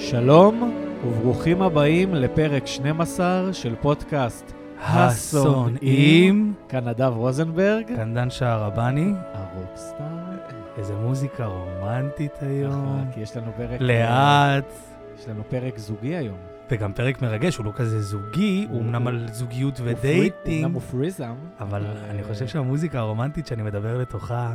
שלום, וברוכים הבאים לפרק 12 של פודקאסט השונאים. כאן נדב רוזנברג, קנדן שערבני, הרוקסטאר. איזה מוזיקה רומנטית היום. נכון, כי יש לנו פרק... אה, לאט. יש לנו פרק זוגי היום. וגם פרק מרגש, הוא לא כזה זוגי, הוא הוא- אמנם על זוגיות הוא פרי- אמנם ודייטינג, הוא פריזם. אבל אה, אני חושב שהמוזיקה הרומנטית שאני מדבר לתוכה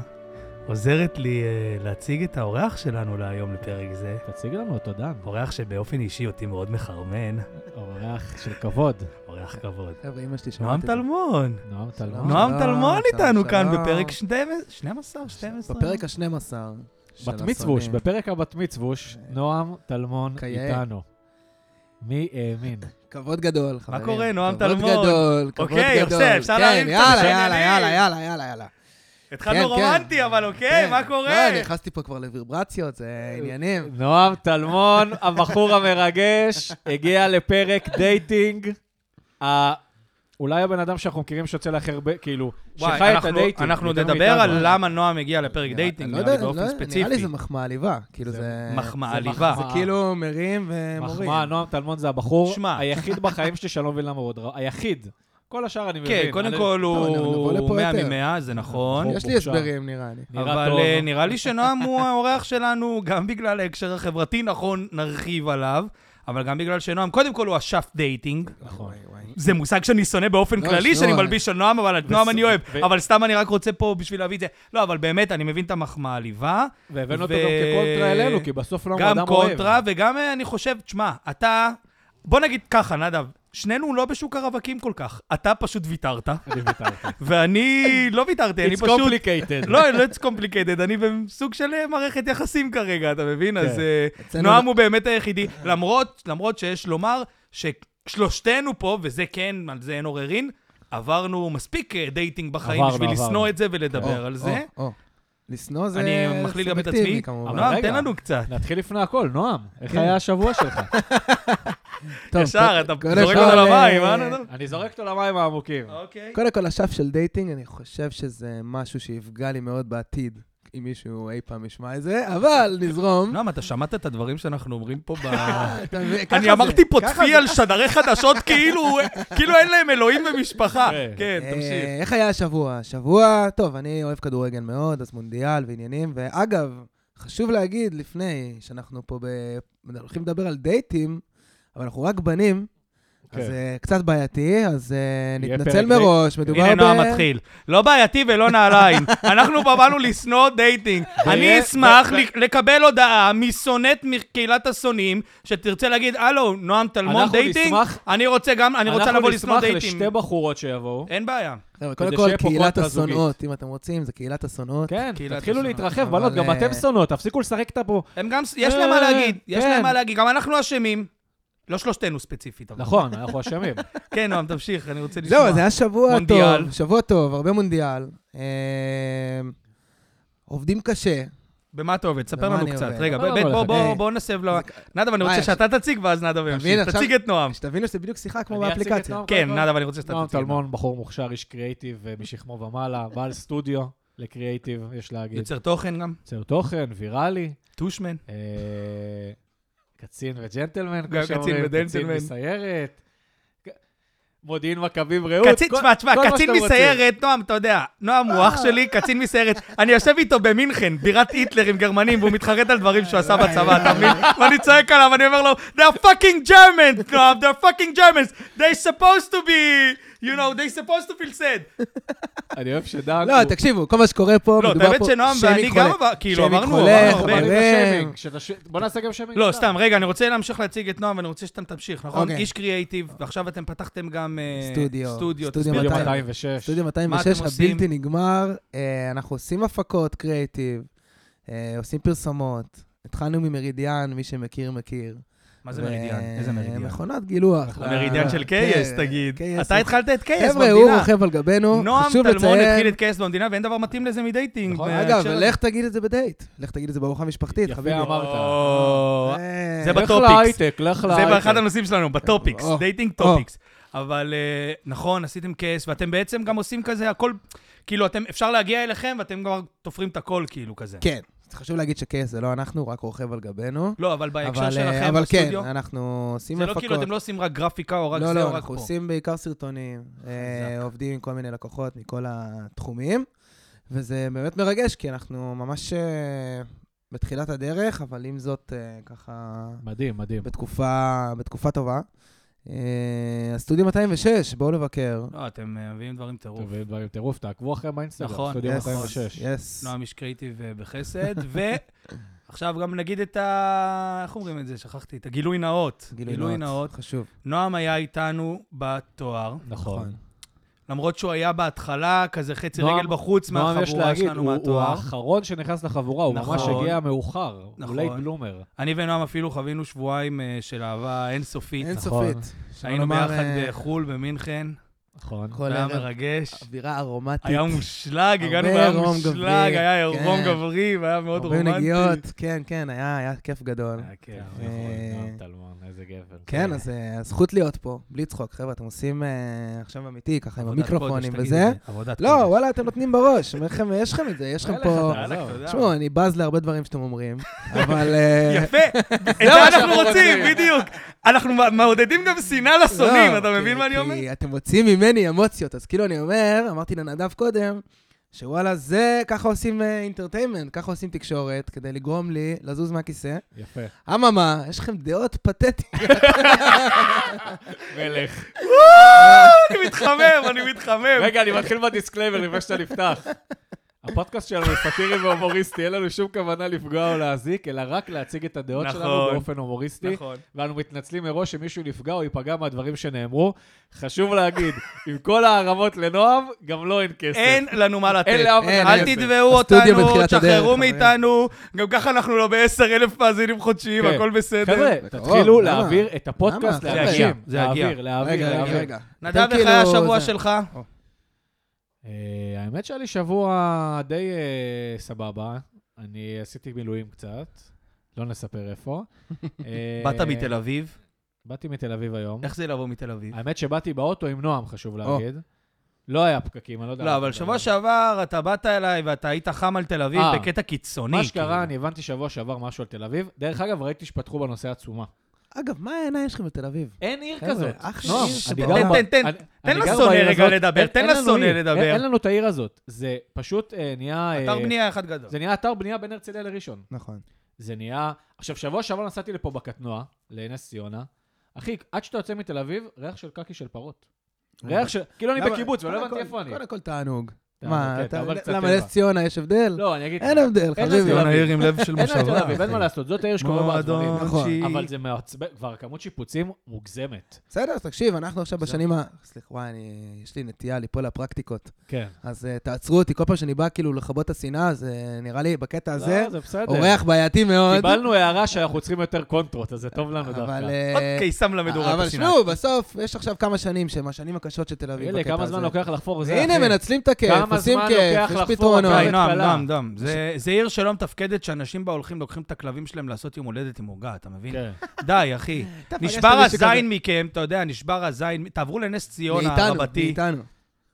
עוזרת לי אה, להציג את האורח שלנו להיום לפרק זה. תציג לנו אותו, דן. אורח שבאופן אישי אותי מאוד מחרמן, אורח של כבוד. אורח אה, כבוד. חבר'ה, אמא שלי שומעת נועם את זה. טלמון. נועם שלום. טלמון. נועם שלום, טלמון שלום, איתנו כאן שלום. בפרק 12, 12. בפרק ה-12 של בת מצווש, השונאים. בפרק הבת מצווש, נועם טלמון כיאה. איתנו. מי האמין? כבוד גדול, חברים. קורה, נועם כבוד טלמון? גדול, כבוד גדול. אוקיי, בסדר, אפשר להרים כן, קצת יאללה, לשון יאללה, עליל. יאללה, יאללה, יאללה, יאללה. כן, התחלנו כן. רומנטי, אבל אוקיי, כן. מה קורה? אה, לא, אני נכנסתי פה כבר לוויברציות, זה עניינים. נועם טלמון, הבחור המרגש, הגיע לפרק דייטינג. ה- אולי הבן אדם שאנחנו מכירים שיוצא להכי הרבה, כאילו, וואי, שחי את אנחנו- הדייטינג. אנחנו יותר נדבר מאיתנו. על למה נועם הגיע לפרק דייטינג, אני לא נראה לי יודע, באופן לא- נראה לי ספציפי. זה מחמאה עליבה. כאילו, זה... מחמאה זה עליבה. זה מחמאה. כאילו מרים ומורים. מחמאה, נועם טלמון זה הבחור שמע. היחיד בחיים שלי שאני לא מבין למה הוא עוד רע. היחיד. כל השאר אני מבין. כן, קודם אוקיי, אני- כל טוב, אנחנו נבוא הוא לפה 100 יותר. מ-100, זה נכון. נכון. יש לי מוכשר. הסברים, נראה לי. נראה אבל טוב. אה, נראה לי שנועם הוא האורח שלנו, גם בגלל ההקשר החברתי, נכון, נרחיב עליו, אבל גם בגלל שנועם, קודם כל הוא אשף דייטינג. נכון. וואי, וואי. זה מושג שאני שונא באופן לא, כללי, שאני שנוע- מלביש על נועם, אבל את נועם אני אוהב. ו- אבל סתם אני רק רוצה פה בשביל להביא את זה. לא, אבל באמת, אני מבין את המחמאה העליבה. והבאנו אותו ו- גם כקונטרה אלינו, כי בסוף לא גם אדם אוהב. קונטרה, וגם אה, אני חושב, תשמע, אתה... בוא נגיד ככה, נדב, שנינו לא בשוק הרווקים כל כך. אתה פשוט ויתרת, אני ויתרתי. ואני לא ויתרתי, אני It's פשוט... complicated. לא, לא it's complicated, אני בסוג של אה, מערכת יחסים כרגע, אתה מבין? אז כן. אה, אצלנו- נועם הוא באמת היחידי, למרות, למרות שיש לומר ששלושתנו פה, וזה כן, על זה אין עוררין, עברנו מספיק אה, דייטינג בחיים עברנו, בשביל עברנו. לשנוא את זה או, ולדבר על זה. או, או. לשנוא זה אני מכליל גם את סובייקטיבי, עצמי. כמובן. אבל נועם, רגע. תן לנו קצת. נתחיל לפני הכל, נועם, איך כן. היה השבוע שלך? טוב, ישר, אתה קודם זורק כל, אותו אה, למים, אה, נדב? אני זורק אותו למים העמוקים. אוקיי. קודם כל, השף של דייטינג, אני חושב שזה משהו שיפגע לי מאוד בעתיד, אם מישהו אי פעם ישמע את זה, אבל נזרום. נועם, אתה שמעת את הדברים שאנחנו אומרים פה ב... אתה מבין? ככה לא. אני זה. אמרתי פה ככה צפי זה. על שדרי חדשות כאילו כאילו אין להם אלוהים ומשפחה. כן. כן, אה, תמשיך. איך היה השבוע? השבוע, טוב, אני אוהב כדורגל מאוד, אז מונדיאל ועניינים, ואגב, חשוב להגיד לפני שאנחנו פה ב... הולכים לדבר על דייטים, אבל אנחנו רק בנים, אז אוקיי. כן. אה, קצת בעייתי, אז אה, יהיה נתנצל פרק מראש, מדובר ב... הנה נועה מתחיל. לא בעייתי ולא נעליים. אנחנו פה באנו לשנוא דייטינג. אני ויהיה- אשמח ו- ל- לקבל הודעה משונאת מקהילת השונאים, שתרצה להגיד, הלו, נועם טלמון אנחנו דייטינג? נשמח- אני רוצה גם, אני רוצה לבוא אה, לשנוא אנחנו נשמח דייטינג. לשתי בחורות שיבואו. אין בעיה. חבר'ה, כדי קודם כל, שיהיה פה קהילת קונטרה זוגית. השונאות, אם אתם רוצים, זה קהילת השונאות. כן, קהילת תתחילו השונות, להתרחב, אבל, בנות, גם אה, אתם שונות, תפסיקו לשחק את הפו. הם גם, יש להם מה אה, להגיד. יש כן. להם מה להגיד. גם אנחנו אשמים. לא שלושתנו ספציפית. אבל. נכון, אנחנו אשמים. כן, נועם, תמשיך, אני רוצה לשמוע. זהו, זה היה שבוע מונדיאל. טוב, שבוע טוב, הרבה מונדיאל. אה, עובדים קשה. במה אתה עובד? ספר במה לנו אני קצת. עובד? רגע, במה באמת, אבל בוא, אתה- בוא, אה, בוא נסב לו. זה- נדב, אני מה רוצה יש? שאתה תציג ואז נדב ימשיך. מבין, עכשיו- תציג את נועם. שתבינו שזה בדיוק שיחה כמו אני אציג את באפליקציה. נועם כן, קודם. נדב, אני רוצה שאתה נועם תציג את נועם. טלמון, בחור מוכשר, איש קריאיטיב אה, משכמו ומעלה, בעל סטודיו לקריאיטיב, יש להגיד. יוצר תוכן גם, יוצר תוכן, ויראלי, טושמן. אה, קצין וג'נטלמן, גם כמו שאומרים. קצין וג'נטלמן. קצין מסיירת. ק- מודיעין מכבים רעות. לא, קצין, כל- תשמע, תשמע, כל מה קצין שאתם רוצים. מסיירת, נועם, אתה יודע, נועם אה. הוא אח שלי, קצין מסיירת. אני יושב איתו במינכן, בירת היטלר עם גרמנים, והוא מתחרט על דברים שהוא עשה אה, בצבא, אתה מבין? ואני צועק עליו, אני אומר לו, they're fucking Germans, נועם, they're fucking Germans, they're supposed to be, you know, they're supposed to feel sad. אני אוהב שדן. לא, תקשיבו, כל מה שקורה פה, לא, את מדובר פה... האמת שנועם שיימינג ואני גם, חולה. אבל- כאילו, שיימינג אמרנו, חולה, אמרנו הרבה. חברים. בוא נעשה גם שיימינג. לא, סתם. סתם, רגע, אני רוצה להמשיך להציג את נועם, ואני רוצה שאתם תמשיך, נכון? אוקיי. איש קריאייטיב, ועכשיו אתם פתחתם גם... אה, סטודיו. סטודיו, סטודיו תסביר לי. סטודיו 200. 206. סטודיו מה אתם 206 עושים? הבלתי נגמר, אה, אנחנו עושים הפקות קריאיטיב, אה, עושים פרסומות. התחלנו ממרידיאן, מי שמכיר, מכיר. מה זה ו- נכון. אה, מרידיאן? איזה מרידיאן? מכונת גילוח. המרידיאן של קייס, תגיד. KS. אתה התחלת את קייס חבר'ה, הוא במדינה. רוכב על גבנו, נועם חשוב טלמון לציין. התחיל את קייס במדינה, ואין דבר מתאים לזה מדייטינג. אה, נכון, בהקשר אגב, הזה. לך תגיד את זה בדייט. לך תגיד את זה בארוחה משפחתית, יפה חביבי. אמרת. או, אה, זה לך בטופיקס. להייטק, לך זה להייטק. באחד הנושאים שלנו, בטופיקס, או, דייטינג או. טופיקס. אבל אה, נכון, עשיתם קייס, ואתם בעצם גם עושים כזה הכל, כאילו, אתם, אפשר להגיע אליכם, ואתם כבר תופרים את הכל, כאילו, כזה. כן. חשוב להגיד שכס זה לא אנחנו, רק רוכב על גבנו. לא, אבל בהקשר אבל, אה, שלכם אבל כן, בסטודיו, אנחנו עושים זה לא הפקות. כאילו אתם לא עושים רק גרפיקה או רק לא, זה לא, או רק אנחנו פה. עושים בעיקר סרטונים, אה, עובדים עם כל מיני לקוחות מכל התחומים, וזה באמת מרגש, כי אנחנו ממש אה, בתחילת הדרך, אבל עם זאת, אה, ככה, מדהים, מדהים. בתקופה, בתקופה טובה. אה, הסטודיו 206, בואו לבקר. לא, אתם אה, מביאים דברים טירוף. טוב, אין דברים טירוף, תעקבו אחריהם באינסטגרם, נכון, סטודיו yes, 206. יס. נועם איש קריאיטיב אה, בחסד, ועכשיו גם נגיד את ה... איך אומרים את זה? שכחתי. את הגילוי נאות. גילוי נאות. חשוב. נועם היה איתנו בתואר, נכון. למרות שהוא היה בהתחלה כזה חצי נועם- רגל בחוץ נועם, יש מהחבורה להגיד, שלנו הוא- הוא מהתואר. האחרון שנכנס לחבורה, הוא ממש נכון. הגיע מאוחר. הוא נכון. לייט בלומר. אני ונועם אפילו חווינו שבועיים אה, של אהבה אינסופית. אינסופית. שלא היינו לומר, ביחד אה, בחו"ל, במינכן, נכון. כל זה היה ערב. מרגש. אווירה ארומטית. היה מושלג, הגענו הרבה והיה רום מושלג, גברי, היה רום כן. גברי, והיה מאוד הרבה רומנטי. נגיעות, כן, כן, היה היה כיף גדול. היה כיף. נכון, אה, נועם טלמון, איזה גבר. כן, אז אה, הזכות להיות פה, בלי צחוק, חבר'ה, אתם עושים אה, עכשיו אמיתי, ככה עם עבודת המיקרופונים קודש, תגיד וזה. את זה, עבודת לא, קודש. וואלה, אתם נותנים בראש, אומר לכם, יש לכם את זה, יש לכם מלך, פה... אתה, וואלה, עזוב. תודה. תשמעו, אני בז להרבה דברים שאתם אומרים, אבל... אה, יפה, את מה זה אנחנו שאנחנו רוצים, רוצים. בדיוק. אנחנו מע- מעודדים גם שנאה לשונאים, לא, אתה כי- מבין מה אני אומר? כי אתם מוציאים ממני אמוציות, אז כאילו אני אומר, אמרתי לנדב קודם, שוואלה, זה, ככה עושים אינטרטיימנט, ככה עושים תקשורת, כדי לגרום לי לזוז מהכיסא. יפה. אממה, יש לכם דעות פתטיות. מלך. אה, אני מתחמם, אני מתחמם. רגע, אני מתחיל בדיסקלייבר לפני שאתה נפתח. הפודקאסט שלנו הוא סאטירי והומוריסטי, אין לנו שום כוונה לפגוע או להזיק, אלא רק להציג את הדעות שלנו נכון. באופן הומוריסטי. נכון. ואנו מתנצלים מראש שמישהו נפגע או ייפגע מהדברים שנאמרו. חשוב להגיד, עם כל הערמות לנועם, גם לו אין כסף. אין לנו מה לתת. אין לאף אחד אין, אל כסף. תתבעו הסטודיו אותנו, בתחילת הדרך, תשחררו חברים. מאיתנו. גם ככה אנחנו לא בעשר אלף מאזינים חודשיים, כן. הכל בסדר. חבר'ה, בקרוב, תתחילו למה? להעביר את הפודקאסט למה? זה יגיע, לאנשים. זה יגיע. להעביר, להעביר, רגע, רגע, להעביר. רגע. נדב, אתם איך היה כאילו השבוע זה- שלך? אה, האמת שהיה לי שבוע די אה, סבבה. אני עשיתי מילואים קצת, לא נספר איפה. אה, באת מתל אביב? באתי מתל אביב היום. איך זה לבוא מתל אביב? האמת שבאתי באוטו עם נועם, חשוב להגיד. לא היה פקקים, אני לא יודע. לא, מה אבל אתה שבוע מדבר. שעבר אתה באת אליי ואתה היית חם על תל אביב אה. בקטע קיצוני. מה שקרה, כאילו. אני הבנתי שבוע שעבר משהו על תל אביב. דרך אגב, ראיתי שפתחו בנושא עצומה. אגב, מה העיניים שלכם בתל אביב? אין עיר חבר'ה, כזאת. אחלה נועם, עיר אני שבעולם. גר ב- תן- תן- אני- תן אני גר לשונא בעיר רגע הזאת. לדבר, אין- תן אין לנו לשונא עיר. לדבר. אין- אין לנו את העיר הזאת. זה פשוט אה, נהיה... אתר אה, בנייה אחד גדול. זה נהיה אתר בנייה בין הרצליה לראשון. נכון. זה נהיה... עכשיו, שבוע שעבר נסעתי לפה בקטנוע, לנס ציונה. אחי, עד שאתה יוצא מתל אביב, ריח של קקי של פרות. ריח של... כאילו אני אה, למה- בקיבוץ, ולא קודם הבנתי כל- איפה אני. קודם כל תענוג. תענוג, מה, כן, אתה- אתה אומר קצת למה טבע. נס ציונה יש הבדל? לא, אני אגיד לך. אין הבדל, אין חביבי. הבדל. העיר עם לב של אין לה תל מושבה. אביב, אין מה לעשות, זאת העיר שקורה בה הדברים. מועדון נכון. שהיא- אבל זה מעצבן, כבר כמות שיפוצים מוגזמת. בסדר, תקשיב, אנחנו עכשיו בשנים ה... סליחה, וואי, אני- יש לי נטייה ליפול לפרקטיקות. כן. אז אה, תעצרו אותי, כל פעם שאני בא כאילו לכבות את השנאה, זה נראה לי לא, בקטע הזה, לא, זה בסדר. אורח בעייתי מאוד. קיבלנו הערה שאנחנו צריכים יותר קונטרות, אז זה טוב לנו דווקא. אבל... אה, עוד קיסם למדורה. אבל אתה שינה. שמעו, בסוף, יש עכשיו כמה שנים שהם השנים הקשות של תל אביב אלה, בקטע כמה הזה. זמן לוקח לחפור זה, והנה, אחי? מנצלים את הכיף, כמה עושים זמן לוקח כיף, לחפור יש פתרונות. הבית? די, כן, נועם, התפלה. נועם, נועם. זה- זה עיר שלא מתפקדת, שאנשים בה הולכים, לוקחים את הכלבים שלהם לעשות יום הולדת עם עוגה, אתה מבין? כן. די, אחי. אתה פגשת נשבר מישהו כזה? הזין מכם, אתה יודע, נשבר הזין. תעברו לנס ציונה מאיתנו, רבתי. מאיתנו.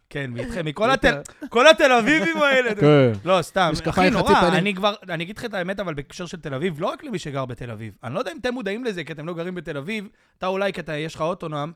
כן, מאיתכם, מכל התל- כל התל אביבים האלה. אתם- לא, סתם, אחי, כן. משקפיים חצי נורא, פנים. אני כבר, אני אגיד לך את האמת, אבל בהקשר של תל אביב, לא רק למי שגר בתל אביב. אני לא יודע אם אתם מודעים לזה, כי אתם לא גרים בתל אביב, אתה אולי, כי אתה, יש לך אוטו נועם.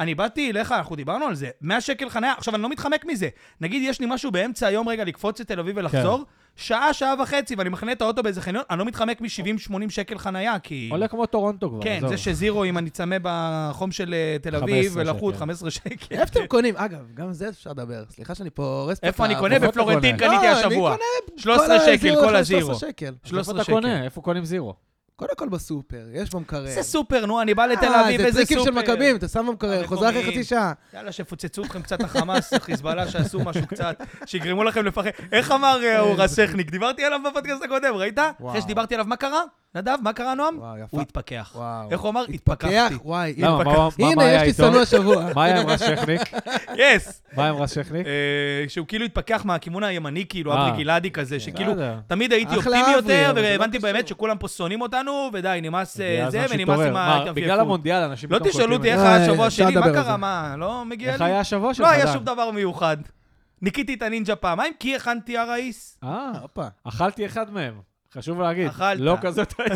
אני באתי אליך, אנחנו דיברנו על זה, 100 שקל חניה, עכשיו, אני לא מתחמק מזה. נגיד, יש לי משהו באמצע היום רגע לקפוץ לתל אביב כן. ולחזור, שעה, שעה וחצי, ואני מחנה את האוטו באיזה חניון, אני לא מתחמק מ-70-80 שקל חנייה, כי... עולה כמו טורונטו כבר, כן, עזוב. זה שזירו, אם אני צמא בחום של אה, תל אביב, 15 ולחות שקל. 15 שקל. איפה אתם קונים? אגב, גם זה אפשר לדבר. סליחה שאני פה הורס את איפה אני ה- קונה? לא, בפלורנטין קונה. קניתי אני השבוע. קונה 13 כל שקל, הזירו, כל הזירו. 13 שקל. אז איפה 13 אתה שקל. כן. קונה? איפה קונים זירו? קודם כל בסופר, יש במקרר. זה סופר, נו, אני בא לתל אה, אביב, זה איזה טריקים סופר. של מכבים, אתה שם במקרר, חוזר אחרי המקומיים. חצי שעה. יאללה, שיפוצצו אתכם קצת החמאס, החיזבאללה, שעשו משהו קצת, שיגרמו לכם לפחד. איך אמר אה, אור הסכניק? דיברתי עליו בפודקאסט הקודם, ראית? אחרי וואו. שדיברתי עליו, מה קרה? נדב, מה קרה, נועם? וואו, יפה. הוא התפכח. וואו. איך הוא אמר? פקח, התפכחתי. וואי. הנה, למה, מה- מה- מה הנה, היה יש לי איתו? שנוא השבוע. מה היה עם רז שכניק? יס! מה עם רז שכניק? אה, שהוא כאילו התפכח מהכיוון הימני, כאילו, אה. אברי גלעדי כזה, שכאילו... בסדר. תמיד הייתי אחלה אופטימי אברי, יותר, אבל זה לא והבנתי קשור. באמת שכולם פה שונאים אותנו, ודי, נמאס אה, הגיע זה, הזמן ונמאס שיתעורר. עם מה, ההתאפייפות. בגלל המונדיאל אנשים לא פתאום תשאלו אותי קולטים את זה. איך היה השבוע אה, אפשר שלי, מה לדבר קרה? על זה. מה, לא מגיע איך לי? היה השבוע שלך? לא היה דן? שום דבר מיוחד. ניקיתי את הנינג'ה פעמיים, כי הכנתי הראיס. אה, הופה. אכלתי אחד מהם. חשוב להגיד, אכלת. לא כזה טעים.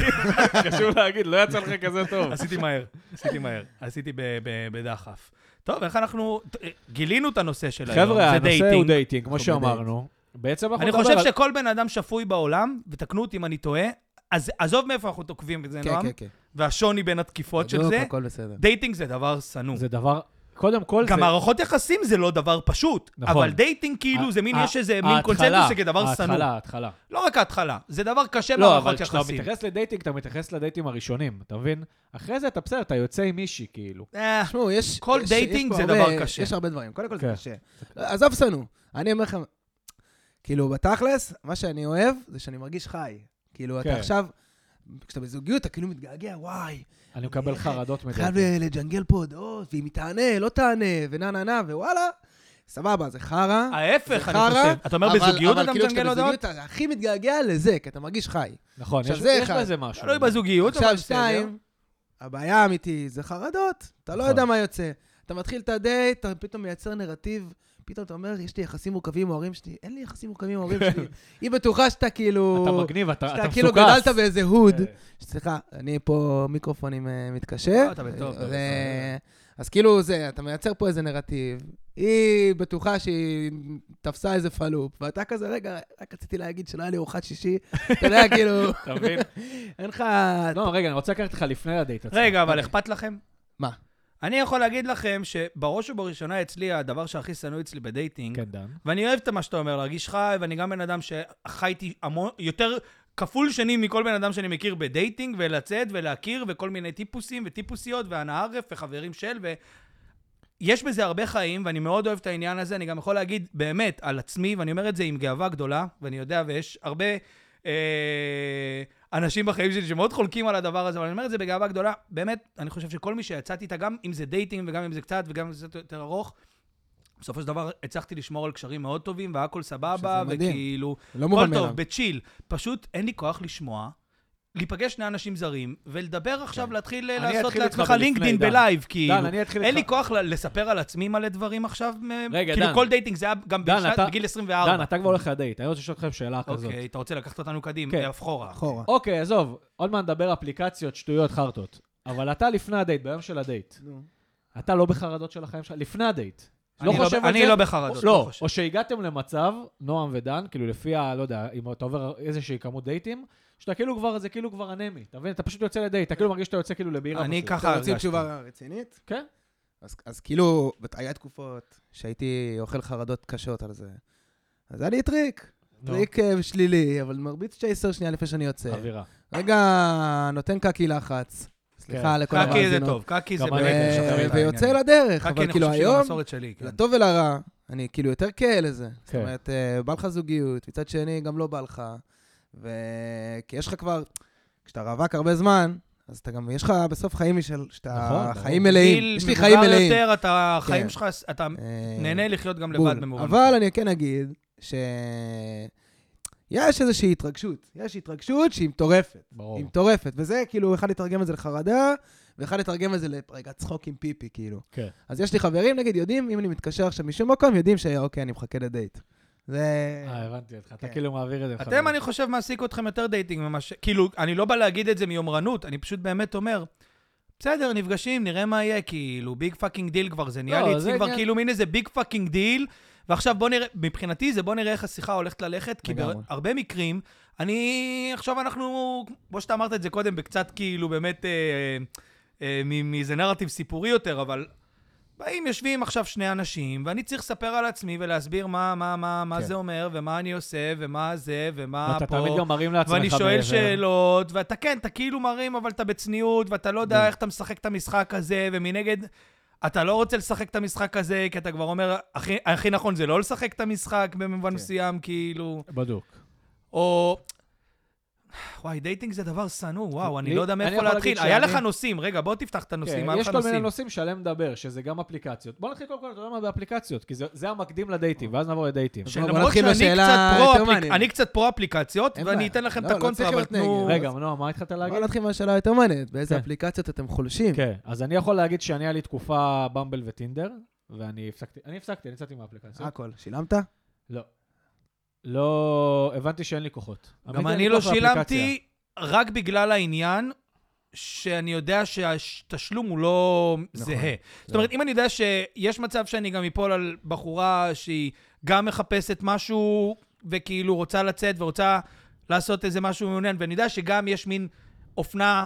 חשוב להגיד, לא יצא לך כזה טוב. עשיתי מהר, עשיתי מהר, עשיתי ב- ב- בדחף. טוב, איך אנחנו... ת- גילינו את הנושא של היום, חבר'ה, זה הנושא הוא דייטינג. דייטינג, כמו אנחנו שאמרנו. בעצם אנחנו אני נדבר חושב על- שכל בן אדם שפוי בעולם, ותקנו אותי אם אני טועה, אז עזוב מאיפה אנחנו תוקבים את זה, כן, נועם, כן, כן. והשוני בין התקיפות של בדוק, זה, הכל בסדר. דייטינג זה דבר שנוא. זה דבר, קודם כל, גם זה- מערכות יחסים זה לא דבר פשוט, נכון. אבל דייטינג כאילו זה מין, ה- יש איזה מין ההתחלה, קונצנזוס שכדבר שנוא. ההתחלה, ההתחלה. לא רק ההתחלה, זה דבר קשה לא, אבל במערכות כשאתה יחסים. מתייחס לדייטינג, אתה מתייחס לדייטים הראשונים, אתה מבין? אחרי זה אתה בסדר, אתה יוצא עם מישהי, כאילו. אה, תשמעו, יש... כל יש- דייטינג יש פה זה הרבה- דבר קשה. יש הרבה דברים. קודם כל זה כן. קשה. לא, עזוב שנוא. אני אומר לכם, כאילו, בתכלס, מה שאני אוהב זה שאני מרגיש חי. כאילו, כן. אתה עכשיו, כשאתה בזוגיות, אתה כאילו מתגעגע, וואי, אני מקבל אה, אני- חרדות חייב מדייטים. לג'נגל פה הודעות, ואם היא תענה, לא תענה, ונה נה נה, ווואלה, סבבה, זה חרא. ההפך, זה אני חרא, חושב. אתה אומר אבל- בזוגיות אבל אתה כאילו מג'נגל כשאתה הודעות? בזוגיות, אתה הכי מתגעגע לזה, כי אתה מרגיש חי. נכון, עכשיו יש זה יש אחד. בזה משהו. תלוי לא, בזוגיות, אבל עכשיו בסדר. אה, שתיים, הבעיה האמיתית זה חרדות, אתה לא נכון. יודע מה יוצא. אתה מתחיל את הדייט, אתה פתאום מייצר נרטיב, פתאום אתה אומר, יש לי יחסים מורכבים עם ההורים שלי, אין לי יחסים מורכבים עם ההורים שלי. היא בטוחה שאתה כאילו... אתה מגניב, אתה אתה שאתה מסוכס. כאילו גדלת באיזה הוד. אה, סליחה, אני פה מיקרופון עם אה, מתקשר. לא, אתה בטוב, אתה אה, בטוב. אה, אז כאילו זה, אתה מייצר פה איזה נרטיב. היא בטוחה שהיא תפסה איזה פלופ, ואתה כזה, רגע, רק רציתי להגיד שלא היה לי ארוחת שישי. אתה יודע, כאילו, אתה מבין? אין לך... לא, רגע, אני רוצה לקחת אותך לפני הדייט עצמו. רגע, אבל אכפת לכם? מה? אני יכול להגיד לכם שבראש ובראשונה אצלי, הדבר שהכי שנוא אצלי בדייטינג, כן, דן. ואני אוהב את מה שאתה אומר, להרגיש חי, ואני גם בן אדם שחייתי המון, יותר כפול שנים מכל בן אדם שאני מכיר בדייטינג, ולצאת ולהכיר, וכל מיני טיפוסים וטיפוסיות, והנאה ערף, וחברים של, ו... יש בזה הרבה חיים, ואני מאוד אוהב את העניין הזה. אני גם יכול להגיד באמת על עצמי, ואני אומר את זה עם גאווה גדולה, ואני יודע, ויש הרבה אה, אנשים בחיים שלי שמאוד חולקים על הדבר הזה, אבל אני אומר את זה בגאווה גדולה. באמת, אני חושב שכל מי שיצאתי איתה, גם אם זה דייטינג וגם אם זה קצת וגם אם זה קצת יותר ארוך, בסופו של דבר הצלחתי לשמור על קשרים מאוד טובים, והכל סבבה, שזה מדהים. וכאילו... לא הכל מובן מאליו. טוב, בצ'יל. פשוט אין לי כוח לשמוע, להיפגש שני אנשים זרים, ולדבר עכשיו, להתחיל אה, כן. אני לעשות אתחיל איתך לעצמך בלפני, לינקדין דן. בלייב, כאילו. דן, אני אתחיל אין לי איתך. כוח ל- לספר על עצמי מלא דברים עכשיו. מ- רגע, כאילו דן. כל דייטינג זה היה גם דן, בשנת- אתה- בגיל דן, 24. אתה כבר הולך לדייט, אני רוצה לשאול אתכם שאלה כזאת. אוקיי, אתה רוצה לקחת אותנו כן. קדימה, אחורה. אחורה. אוקיי, עזוב, עוד מעט נדבר אפליקציות, שטויות, חרטות. אבל אתה לפני הדייט, ביום של הדייט, אתה לא בחרדות של החיים שלך, לפני הדייט. אני לא חושב על אני זה? לא בחרדות. לא, חושב. או שהגעתם למצב, נועם ודן, כאילו לפי ה... לא יודע, אם אתה עובר איזושהי כמות דייטים, שאתה כאילו כבר, זה כאילו כבר אנמי, אתה מבין? אתה פשוט יוצא לדייט, אתה כאילו מרגיש שאתה יוצא כאילו לבעירה. אני פשוט. ככה אתם רוצים הרגשתי. תשובה רצינית? כן. אז, אז כאילו, בת- היה תקופות שהייתי אוכל חרדות קשות על זה. אז היה לי טריק, נו, טריק אה, שלילי, אבל מרביץ צ'ייסר שנייה לפני שאני יוצא. אה, אווירה. רגע, נותן קקי לחץ. סליחה לכל קקי זה המאזינות. טוב, קקי זה גם באמת אני אה, ו- משחרר את ויוצא לדרך, קקי, אבל אני כאילו חושב היום, שזה מסורת שלי. כן. לטוב ולרע, אני כאילו יותר כהה לזה. זאת כן. אומרת, אה, בא לך זוגיות, מצד שני גם לא בא לך, ו... כי יש לך כבר, כשאתה רווק הרבה זמן, אז אתה גם, יש לך בסוף חיים משל, שאתה נכון, חיים ברור. מלאים. גיל יש לי חיים מבוגר מלאים. יותר, אתה, החיים כן. שלך, אתה אה, נהנה לחיות גם בול. לבד במובן. אבל אני כן אגיד ש... יש איזושהי התרגשות, יש התרגשות שהיא מטורפת. ברור. היא מטורפת, וזה כאילו, אחד יתרגם את זה לחרדה, ואחד יתרגם את זה לרגע צחוק עם פיפי, כאילו. כן. אז יש לי חברים, נגיד, יודעים, אם אני מתקשר עכשיו משום מקום, יודעים שאוקיי, אני מחכה לדייט. זה... אה, הבנתי אותך, אתה כן. כאילו מעביר את זה. אתם, אני חושב, מעסיק אתכם יותר דייטינג ממה ש... כאילו, אני לא בא להגיד את זה מיומרנות, אני פשוט באמת אומר, בסדר, נפגשים, נראה מה יהיה, כאילו, ביג פאקינג דיל כבר, זה נהיה לא, לי זה אצלי כבר עניין- כאילו מין איזה ביג פאקינג דיל, ועכשיו בוא נראה, מבחינתי זה בוא נראה איך השיחה הולכת ללכת, כי לגמרי. בהרבה מקרים, אני, עכשיו אנחנו, כמו שאתה אמרת את זה קודם, בקצת כאילו באמת, אה, אה, מ- מאיזה נרטיב סיפורי יותר, אבל... באים, יושבים עכשיו שני אנשים, ואני צריך לספר על עצמי ולהסביר מה, מה, מה, מה כן. זה אומר, ומה אני עושה, ומה זה, ומה אה, פה. ואתה תמיד גם מרים לעצמך. ואני שואל מעבר. שאלות, ואתה כן, אתה כאילו מרים, אבל אתה בצניעות, ואתה לא יודע איך אתה משחק את המשחק הזה, ומנגד, אתה לא רוצה לשחק את המשחק הזה, כי אתה כבר אומר, הכי, הכי נכון זה לא לשחק את המשחק במובן כן. מסוים, כאילו, בדוק. או... וואי, דייטינג זה דבר שנוא, וואו, אני לי- לא יודע אני מאיפה יכול להתחיל. להגיד היה שאני- לך נושאים, רגע, בוא תפתח את הנושאים, כן, היה יש לך כל מיני נושאים. נושאים שעליהם לדבר, שזה גם אפליקציות. בוא נתחיל קודם כל, אתה יודע מה, באפליקציות, כי זה- זה המקדים לדייטים, ואז נעבור לדייטים. בוא שלמרות נתחיל שאני בשאלה קצת יותר פרו-אפליק- מעניינת. אני קצת פרו-אפליקציות, אין ואני בעיה. אתן לכם את לא, לא הקונטרה, צריך אבל להיות תנו... נגד. רגע, נועה, מה התחלת בוא להגיד? נתחיל מהשאלה היותר מעניינת, באיזה כן. אפליקציות אתם חולשים? כן, אז אני יכול להגיד שאני, היה לי תקופה במבל אה, וטינדר, ואני הפסקתי, אני הפסקתי, אני יצאתי מהאפליקציה. הכל. שילמת? לא. לא, הבנתי שאין לי כוחות. גם עמיתי, אני אין לא לי כוח לאפליקציה. שילמתי רק בגלל העניין שאני יודע שהתשלום הוא לא נכון. זהה. זאת אומרת, אם אני יודע שיש מצב שאני גם אפול על בחורה שהיא גם מחפשת משהו וכאילו רוצה לצאת ורוצה לעשות איזה משהו מעוניין, ואני יודע שגם יש מין אופנה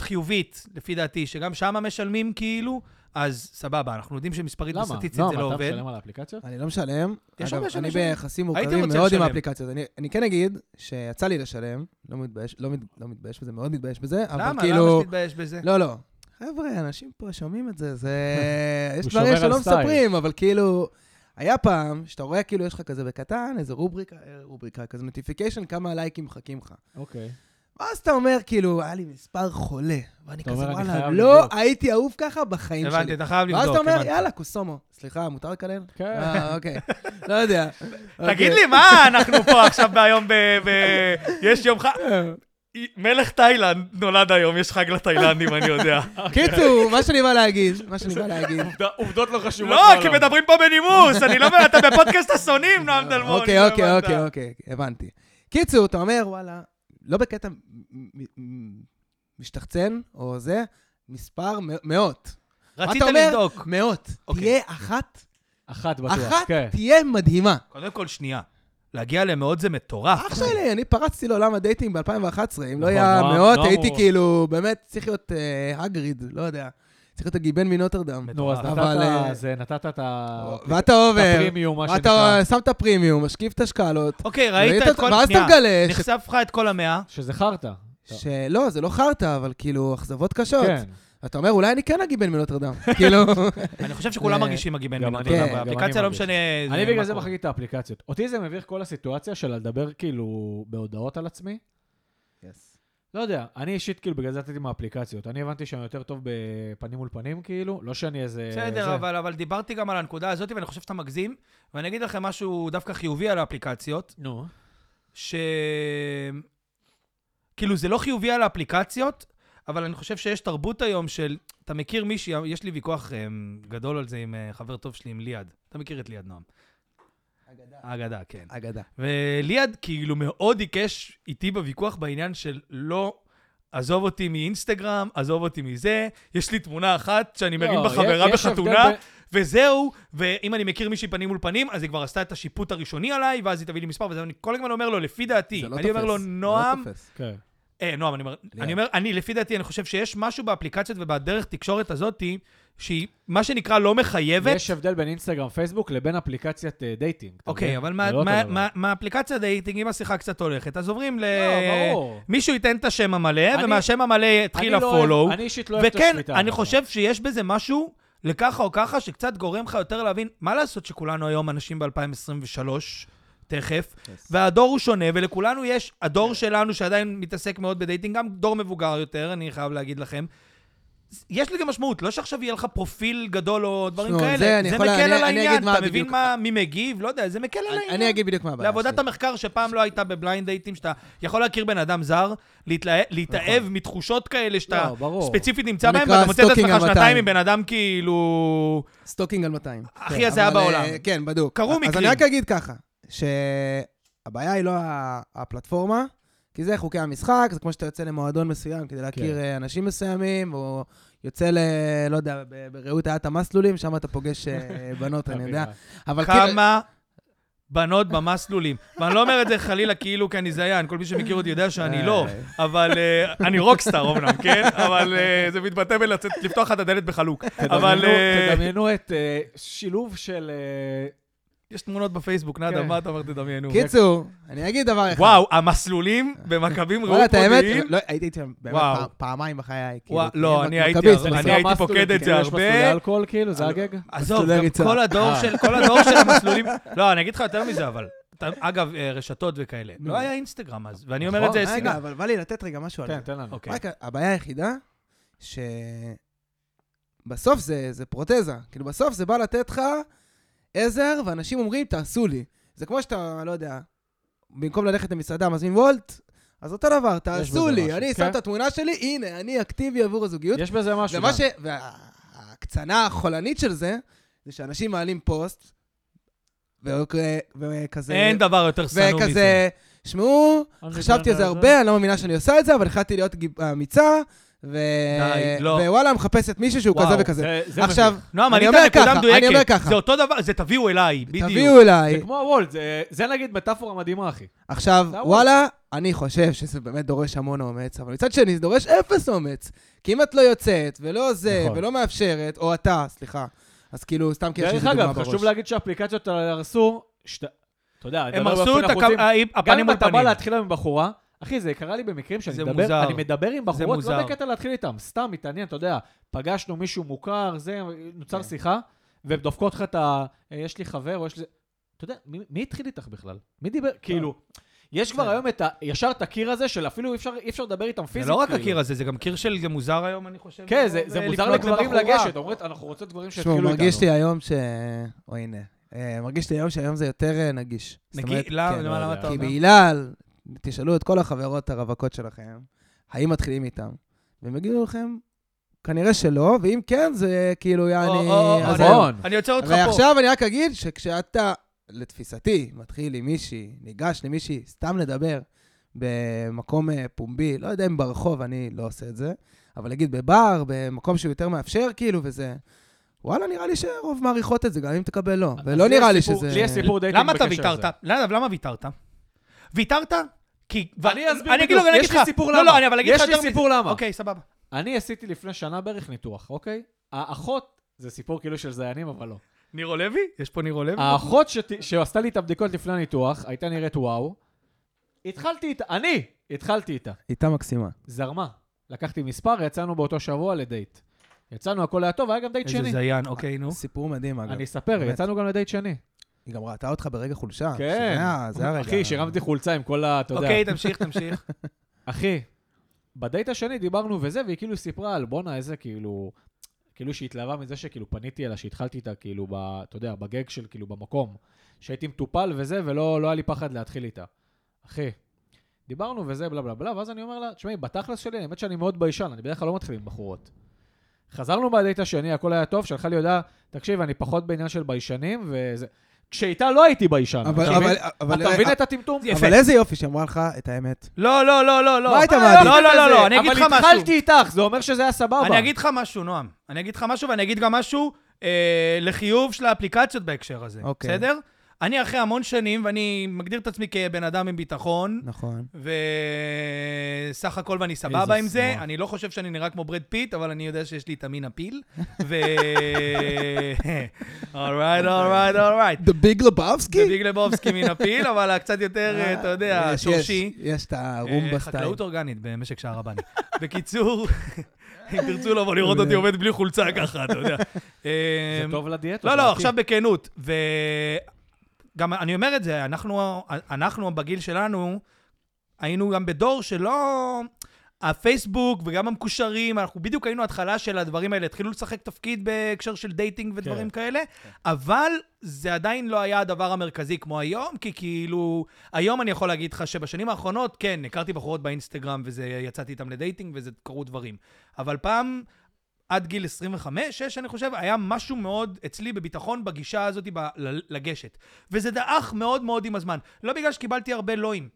חיובית, לפי דעתי, שגם שמה משלמים כאילו, אז סבבה, אנחנו יודעים שמספרית למה? וסטטיסטית נועם, זה לא אתה עובד. משלם על האפליקציות? אני לא משלם. יש אגב, הרבה אני שמשלמים. ביחסים הייתי מורכבים רוצה מאוד עם לשלם. האפליקציות. אני, אני כן אגיד שיצא לי לשלם, לא מתבייש, לא, מת, לא מתבייש בזה, מאוד מתבייש בזה, אבל למה? למה כאילו... שתתבייש בזה? לא, לא. חבר'ה, אנשים פה שומעים את זה, זה... יש הוא דברים שומר על שלא סטייל. מספרים, אבל כאילו... היה פעם, שאתה רואה כאילו יש לך כזה בקטן, איזה רובריקה, אה, רובריקה, כזה נוטיפיקיישן, כמה לייקים מחכים לך. אוקיי. ואז אתה אומר, כאילו, היה לי מספר חולה. ואני אתה כזה, אומר, "אני וואלה, חייב לא לבדוק." הייתי אהוב ככה בחיים שלי. הבנתי, אתה חייב לבדוק. ואז אתה אומר, הבנתי. יאללה, קוסומו. סליחה, מותר לקלל? כן. אה, אוקיי. לא יודע. אוקיי. תגיד לי, מה אנחנו פה עכשיו היום ב... ב- יש יום חג... מלך תאילנד נולד היום, יש חג לתאילנדים, אני יודע. אוקיי. קיצור, מה שאני בא להגיד, מה שאני בא להגיד. עובדות לא חשובות. לא, כי מדברים פה בנימוס, אני לא מבין, אתה בפודקאסט השונאים, נועם דלמון. אוקיי, לא אוקיי, הבנת. אוקיי, אוקיי, הבנתי. קיצור, אתה אומר, וואלה, לא בקטע מ- מ- משתחצן או זה, מספר מא- מאות. רצית אתה אומר? לבדוק. מאות. אוקיי. תהיה אחת, אחת בטוח, אחת כן. תהיה מדהימה. קודם כל, שנייה. להגיע למאות זה מטורף. אח שלי, אני פרצתי לעולם הדייטינג ב-2011, אם לא נכון, היה נועם- מאות, נועם הייתי הוא- כאילו, באמת, צריך להיות אה, הגריד, לא יודע. צריך להיות הגיבן מנוטרדם. נו, אז אבל, אה, נתת זה, נתת את ה... ואתה עובר, הפרימיום, מה אתה שנקרא. שם את הפרימיום, משקיף את השקלות, אוקיי, ראית ראית את אותו- כל... ואז אתה שנייה. מגלה ש- נחשף לך את כל המאה. שזה חרטא. שלא, זה לא חרטא, אבל כאילו, אכזבות קשות. כן. אתה אומר, אולי אני כן אגיבן מנוטרדם. כאילו, אני חושב שכולם זה- מרגישים מגיבן גם מנות. אני, אה, גם אני באפליקציה לא מרגיש. משנה... אני מה בגלל זה קורה. מחקתי את האפליקציות. אותי זה מביך כל הסיטואציה של לדבר כאילו בהודעות על עצמי. לא יודע, אני אישית כאילו בגלל זה יצאתי מהאפליקציות. אני הבנתי שאני יותר טוב בפנים מול פנים כאילו, לא שאני איזה... אה, בסדר, זה. אבל, אבל דיברתי גם על הנקודה הזאת, ואני חושב שאתה מגזים. ואני אגיד לכם משהו דווקא חיובי על האפליקציות, נו. ש... כאילו, זה לא חיובי על האפליקציות, אבל אני חושב שיש תרבות היום של... אתה מכיר מישהי, יש לי ויכוח אמ, גדול על זה עם אה, חבר טוב שלי, עם ליעד. אתה מכיר את ליעד, נועם. האגדה, כן. אגדה. וליעד כאילו מאוד עיקש איתי בוויכוח בעניין של לא... עזוב אותי מאינסטגרם, עזוב אותי מזה, יש לי תמונה אחת שאני לא, מרים יש- בחברה יש הבדל בחתונה, ב- וזהו, ואם אני מכיר מישהי פנים מול פנים, אז היא כבר עשתה את השיפוט הראשוני עליי, ואז היא תביא לי מספר, וזה אני כל הזמן אומר לו, לפי דעתי, זה לא אני אומר תופס, לו, זה לא נועם, תופס. כן. אה, נועם, אני אומר, אני אומר, אני, לפי דעתי, אני חושב שיש משהו באפליקציות ובדרך תקשורת הזאתי, שהיא, מה שנקרא, לא מחייבת. יש הבדל בין אינסטגרם, פייסבוק לבין אפליקציית אה, דייטינג. אתה אוקיי, מבין? אבל זה מה- לא אותו מה- דבר. מה- מהאפליקציה דייטינג, אם השיחה קצת הולכת, אז עוברים ל... לא, ברור. מישהו ייתן את השם המלא, אני- ומהשם המלא יתחיל אני לא אוהב- הפולו. אני אישית לא אוהב את וכן, השליטה. אני אבל. חושב שיש בזה משהו, לככה או ככה, שקצת גורם לך יותר להבין, מה לעשות שכולנו היום אנשים ב-2023, תכף, והדור הוא שונה, ולכולנו יש, כן. הדור שלנו שעדיין מתעסק מאוד בדייטינג, גם דור מבוגר יותר, אני חייב להגיד לכם. יש לזה משמעות, לא שעכשיו יהיה לך פרופיל גדול או דברים תשמעו, כאלה. זה זה, אני יכול- מקל אני- על אני העניין, אגיד מה אתה מבין בדיוק- מה, מי מגיב, לא יודע, זה מקל על העניין. אני אגיד בדיוק מה הבעיה לעבודת שלי. המחקר שפעם לא הייתה בבליינד דייטים, שאתה יכול להכיר בן אדם זר, להתלהב- להתאהב נכון. מתחושות כאלה שאתה לא, ברור. ספציפית נמצא זה בהם, נקרא ואתה מוצא את סטוקינג עצמך על 200. שנתיים עם בן אדם כאילו... סטוקינג על 200. הכי כן, הזיה אבל, אה, בעולם. כן, בדיוק. קרו אז מקרים. אני רק אגיד ככה, שהבעיה היא לא ה- הפלטפורמה, כי זה חוקי המשחק, זה כמו שאתה יוצא למועדון מסוים כדי להכיר כן. אה, אנשים מסוימים, או יוצא ל... לא יודע, ב- ברעות האט המסלולים, שם אתה פוגש אה, בנות, אוקיי, אני יודע. אבל כאילו... כמה בנות במסלולים. ואני לא אומר את זה חלילה כאילו כי אני זיין, כל מי שמכיר אותי יודע שאני לא, אבל אה, אני רוקסטאר אמנם, כן? אבל אה, זה מתבטא בלצאת, לפתוח לך את הדלת בחלוק. תדמיינו- אבל אה, תדמיינו את אה, שילוב של... אה, יש תמונות בפייסבוק, נאדה, כן. מה אתה אומר תדמיינו? קיצור, אני אגיד דבר אחד. וואו, המסלולים במכבים וואלה, רעות את האמת, מודיעין. לא, הייתי שם באמת וואו. פעם- פעמיים בחיי. כאילו, וואו, כי לא, אני אני מק- הייתי מכביסט, הרבה- בסוף. אני הייתי מסלול, פוקד את זה כאילו, יש הרבה. לא- מסלולי אלכוהול כאילו, זה הגג? עזוב, מסלולי גם ריצה. אה. כל הדור של, כל הדור של המסלולים... לא, אני אגיד לך יותר מזה, אבל... אתה- אגב, אה, רשתות וכאלה. לא היה אינסטגרם אז, ואני אומר את זה... נכון, רגע, סיני. אבל בא לי לתת רגע משהו על זה. תן, כן, תן לנו. אוקיי. רק הבעיה היחידה, ש... בסוף זה, זה פרוטזה. כאילו, בסוף זה בא לתת לך עזר, ואנשים אומרים, תעשו לי. זה כמו שאתה, לא יודע, במקום ללכת למסעדה, מזמין וולט, אז אותו דבר, תעשו בזה לי. משהו, אני כן. שם את התמונה שלי, הנה, אני אקטיבי עבור הזוגיות. יש בזה משהו. ומה גם. ש... וההקצנה החולנית של זה, זה שאנשים מעלים פוסט, וכ- וכזה... אין דבר יותר שנוא מזה. וכזה, שמעו, אני חשבתי על זה יודע, הרבה, אני לא מאמינה שאני עושה את זה, אבל החלטתי להיות גיב- אמיצה, ו... די, לא. ווואלה, מחפשת מישהו שהוא וואו, כזה וכזה. זה- זה עכשיו, מביך. נועם, אני ענית אומר נקודה ככה, אני אומר מדויקת. ככה. זה אותו דבר, זה תביאו אליי, בדיוק. תביאו אליי. זה כמו הוולד, זה- זה נגיד מטאפורה מדהימה, אחי. עכשיו, זה הוולד. וואלה, אני חושב שזה באמת דורש המון אומץ, אבל מצד שני, זה דורש אפס אומץ. כי אם את לא יוצאת, ולא זה, נכון. ולא מאפשרת, או אתה, סליחה, אז כאילו, סתם כי יש לי דרך איזה דוגמה אגב, בראש. חשוב להגיד שהאפליקציות האלה הרסו, שת- אתה יודע, הם לדבר הרסו באופן את הכ- אחוזים. ה- גם הפנים אם מול אתה בא פנים. להתחיל היום עם בחורה, אחי, זה קרה לי במקרים שאני זה מדבר, מוזר. אני מדבר עם בחורות, לא מוזר. בקטע להתחיל איתם, סתם מתעניין, אתה יודע, פגשנו מישהו מוכר, זה, נוצר כן. שיחה, והן דופקות לך את ה... אה, יש לי חבר, או יש לי... אתה יודע, מי מי התחיל איתך בכלל? מי אה. דיבר? כאילו, יש כבר היום את ה... ישר את הקיר הזה של אפילו אי אפשר- אי אפשר לדבר איתם פיזית. כן. זה לא רק כאילו. הקיר הזה, זה גם קיר של זה מוזר היום, אני חושב. כן, זה- זה ולפנות מוזר לגברים לבחורה. לגשת, אומרת, אנחנו רוצים דברים תשמעו, שיתחילו איתנו. מרגיש לי היום ש... או הנה. אה, מרגיש לי היום שהיום זה יותר אה, נגיש. זאת נגיד, אומרת, למה כן, לא למה- למה יודע. אתה כי אומר? בהילל, תשאלו את כל החברות הרווקות שלכם, האם מתחילים איתם? והם יגידו לכם, כנראה שלא, ואם כן, זה כאילו, או, יעני... או, או, נכון. אז אני- זהו. המון. אני עוצר אותך פה. ועכשיו אני רק אגיד שכשאתה, לתפיסתי, מתחיל עם מישהי, ניגש למישהי, סתם לדבר במקום אה, פומבי, לא יודע אם ברחוב, אני לא עושה את זה, אבל נגיד בבר, במקום שהוא יותר מאפשר, כאילו, וזה... וואלה, נראה לי שרוב מעריכות את זה, גם אם תקבל לא. ולא אז לי נראה לי הסיפור- שזה... לי יש סיפור דייטינג למה בקשר אתה לזה. ויתרת? למה למה ויתרת? ויתרת? כי... אני אסביר אני אגיד בדיוק, לו, אני יש אגיד לי לך... סיפור לא, לא, למה. אני אבל אגיד יש לך יותר לי מזה. סיפור למה. אוקיי, סבבה. אני עשיתי לפני שנה בערך ניתוח, אוקיי? האחות, זה סיפור כאילו של זיינים, אבל לא. נירו לוי? יש פה נירו לוי? האחות שת- שעשתה לי את הבדיקות לפני הניתוח, הייתה נראית וואו. התחלתי איתה, אני התחלתי איתה. איתה מקסימה. זרמה. לקחתי מספר, יצאנו באותו שבוע לדייט. יצאנו, הכל היה טוב, היה גם דייט איזה שני. זיין, אוקיי, נו. סיפור מדהים, אגב. אני אספר, באמת. יצאנו גם לדייט שני. היא גם ראתה אותך ברגע חולשה. כן. שזה ה- זה הרגע. אחי, שהרמתי חולצה עם כל ה... אתה יודע. אוקיי, תמשיך, תמשיך. אחי, בדייט השני דיברנו וזה, והיא כאילו סיפרה על בואנה איזה כאילו, כאילו שהיא התלהבה מזה שכאילו פניתי אליה, שהתחלתי איתה כאילו, ב, אתה יודע, בגג של כאילו במקום, שהייתי מטופל וזה, ולא לא היה לי פחד להתחיל איתה. אחי, דיברנו וזה, בלה בלה בלה, ואז אני אומר לה, תשמעי, בתכלס שלי, האמת שאני מאוד ביישן, אני בדרך כלל לא מתחיל עם בחורות. חזרנו מהדייט השני, הכל היה טוב, שלחה לי הודעה, תקשיב, אני פחות בעניין של ביישנים, וזה... כשאיתה לא הייתי ביישן. אבל- אתה מבין? אבל- אבל- אה, אתה מבין את הטמטום? יפה. אבל איזה יופי שאמרה לך את האמת. לא, לא, לא, לא, לא. מה היית אה, מעדיף? לא, לא, לא, לא, אני אגיד לך אבל משהו. התחלתי איתך, זה אומר שזה היה סבבה. אני אגיד לך משהו, נועם. אני אגיד לך משהו, ואני אגיד גם משהו אה, לחיוב של האפליקציות בהקשר הזה, אוקיי. בסדר? אני אחרי המון שנים, ואני מגדיר את עצמי כבן אדם עם ביטחון, נכון. וסך הכל ואני איזה סבבה עם זה. שמאל. אני לא חושב שאני נראה כמו ברד פיט, אבל אני יודע שיש לי את המין הפיל. ו... אורייט, אורייט, אורייט. The Big Lebowski? זה ביג לבובסקי מן הפיל, אבל קצת יותר, אה, אתה יודע, כן. יש, שורשי. יש, יש את אה, הרומבה סטייל. חקלאות אורגנית במשק שער הבני. בקיצור, אם תרצו לבוא לראות אותי עובד בלי חולצה ככה, אתה יודע. זה אה, טוב לדיאטה. לא, זה לא, אמיתי. עכשיו בכנות. וגם אני אומר את זה, אנחנו, אנחנו בגיל שלנו, היינו גם בדור שלא... הפייסבוק וגם המקושרים, אנחנו בדיוק היינו התחלה של הדברים האלה, התחילו לשחק תפקיד בהקשר של דייטינג ודברים כן. כאלה, אבל זה עדיין לא היה הדבר המרכזי כמו היום, כי כאילו, היום אני יכול להגיד לך שבשנים האחרונות, כן, הכרתי בחורות באינסטגרם וזה, יצאתי איתם לדייטינג וזה קרו דברים. אבל פעם, עד גיל 25, 6, אני חושב, היה משהו מאוד אצלי בביטחון בגישה הזאת ב- ל- לגשת. וזה דעך מאוד מאוד עם הזמן. לא בגלל שקיבלתי הרבה לואים.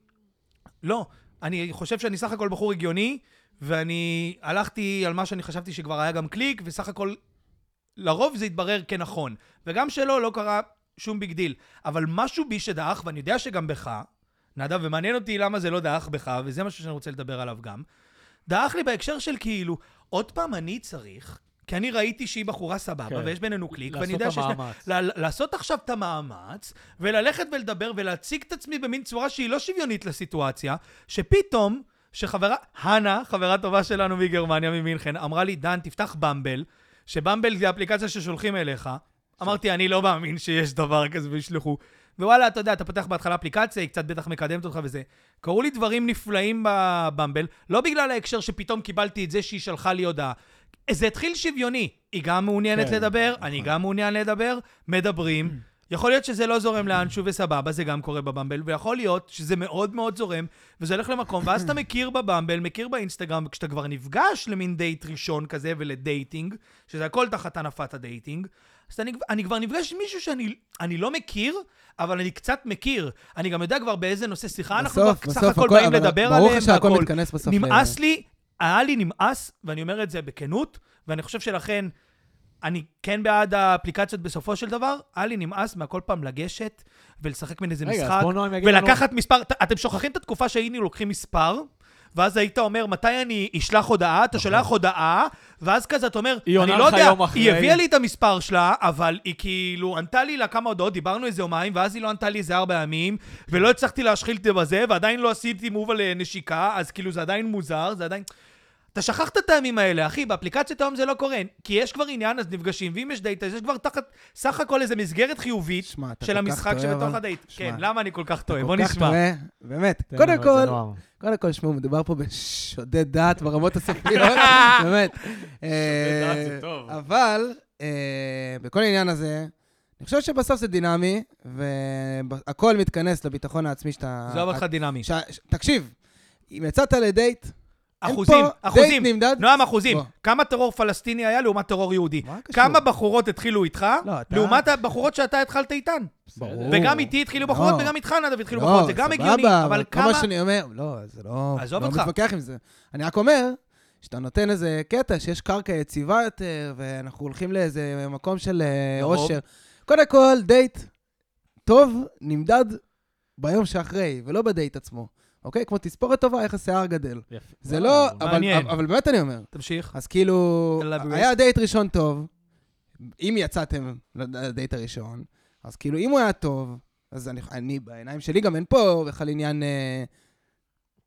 לא. אני חושב שאני סך הכל בחור הגיוני, ואני הלכתי על מה שאני חשבתי שכבר היה גם קליק, וסך הכל, לרוב זה התברר כנכון. וגם שלא, לא קרה שום ביג דיל. אבל משהו בי שדעך, ואני יודע שגם בך, נדב, ומעניין אותי למה זה לא דעך בך, וזה משהו שאני רוצה לדבר עליו גם, דעך לי בהקשר של כאילו, עוד פעם אני צריך, כי אני ראיתי שהיא בחורה סבבה, כן. כן. ויש בינינו קליק, לעשות ואני יודע את שיש... לה- המאמץ. ל- לעשות עכשיו את המאמץ, וללכת ולדבר ולהציג את עצמי במין צורה שהיא לא שוויונית לסיטואציה, שפתאום, שחברה, הנה, חברה טובה שלנו מגרמניה, ממינכן, אמרה לי, דן, תפתח במבל, שבמבל זה אפליקציה ששולחים אליך. אמרתי, אני לא מאמין שיש דבר כזה וישלחו. ווואלה, אתה יודע, אתה פותח בהתחלה אפליקציה, היא קצת בטח מקדמת אותך וזה. קרו לי דברים נפלאים בבמבל, לא בגלל ההקשר שפתאום קיבלתי את זה שהיא שלחה לי הודעה. זה התחיל שוויוני. היא גם מעוניינת כן, לדבר, אני גם מעוניין לדבר, Mm. מדברים. יכול להיות שזה לא זורם לאנשהו וסבבה, זה גם קורה בבמבל, ויכול להיות שזה מאוד מאוד זורם, וזה הולך למקום, ואז אתה מכיר בבמבל, מכיר באינסטגרם, כשאתה כבר נפגש למין דייט ראשון כזה ולדייטינג, שזה הכל תחת הנפת הדייטינג, אז אני, אני כבר נפגש עם מישהו שאני אני לא מכיר, אבל אני קצת מכיר. אני גם יודע כבר באיזה נושא שיחה אנחנו בסוף, כבר סך בסוף, הכל הכל- באים אבל לדבר ברור עליהם. לך שהכל והכל. מתכנס בסוף ל- נמאס לי, היה לי נמאס, ואני אומר את זה בכנות, ואני חושב שלכן, אני כן בעד האפליקציות בסופו של דבר, היה לי נמאס מהכל פעם לגשת ולשחק מן איזה רגע, משחק. אז בוא נועם יגיד לנו... ולקחת מספר, ת- אתם שוכחים את התקופה שהיינו לוקחים מספר, ואז היית אומר, מתי אני אשלח הודעה? אתה שולח הודעה, ואז כזה אתה אומר, אוקיי. היא אני עונה לא לך יודע, יום אחרי." היא הביאה לי את המספר שלה, אבל היא כאילו ענתה לי לה כמה הודעות, דיברנו איזה יומיים, ואז היא לא ענתה לי איזה ארבע ימים, ולא הצלחתי להשחיל את זה בזה, ועדיין לא עשיתי מוב על אה, נשיקה, אז כאילו זה עדיין מוזר, זה עדיין... אתה שכחת את הימים האלה, אחי, באפליקציות היום זה לא קורה, כי יש כבר עניין, אז נפגשים, ואם יש דייט, אז יש כבר תחת, סך הכל איזו מסגרת חיובית שמע, אתה של כל כך המשחק טועה, שבתוך אבל- הדייט. שמע, כן, למה אני כל כך טועה? כל בוא כך נשמע. טועה, באמת, תן לנו קודם את זה, כל, נועם. קודם כל, שמעו, מדובר פה בשודד דעת ברמות הסופיות, באמת. דעת זה אה, טוב. אבל, אה, בכל העניין הזה, אני חושב שבסוף זה דינמי, והכל מתכנס לביטחון העצמי שאתה... זה עבד לך דינמי. ש- ש- תקשיב, אם יצאת לדייט, אין אחוזים, פה אחוזים. דייט נמדד. נועם, אחוזים. בוא. כמה טרור פלסטיני היה לעומת טרור יהודי? מה קשור? כמה בחורות התחילו איתך, לא, אתה- לעומת הבחורות שאתה התחלת איתן. ברור. וגם איתי התחילו בחורות, לא. וגם איתך, נדב, התחילו לא, בחורות. כאילו, נכון, זה גם סבבה, הגיוני, אבל כל כמה... מה שאני אומר, לא, זה לא... עזוב לא אותך. מתווכח עם זה. אני רק אומר שאתה נותן איזה קטע שיש קרקע יציבה יותר, ואנחנו הולכים לאיזה מקום של אה, נכון. אושר. קודם כל, דייט טוב נמדד ביום שאחרי, ולא בדייט עצמו. אוקיי? כמו תספורת טובה, איך השיער גדל. יפה. זה לא... וואו, אבל- אה, מעניין. אבל אבל באמת אני אומר. תמשיך. אז כאילו, Elaborate. היה דייט ראשון טוב, אם יצאתם לדייט הראשון, אז כאילו, אם הוא היה טוב, אז אני, אני בעיניים שלי גם אין פה בכלל עניין, אה,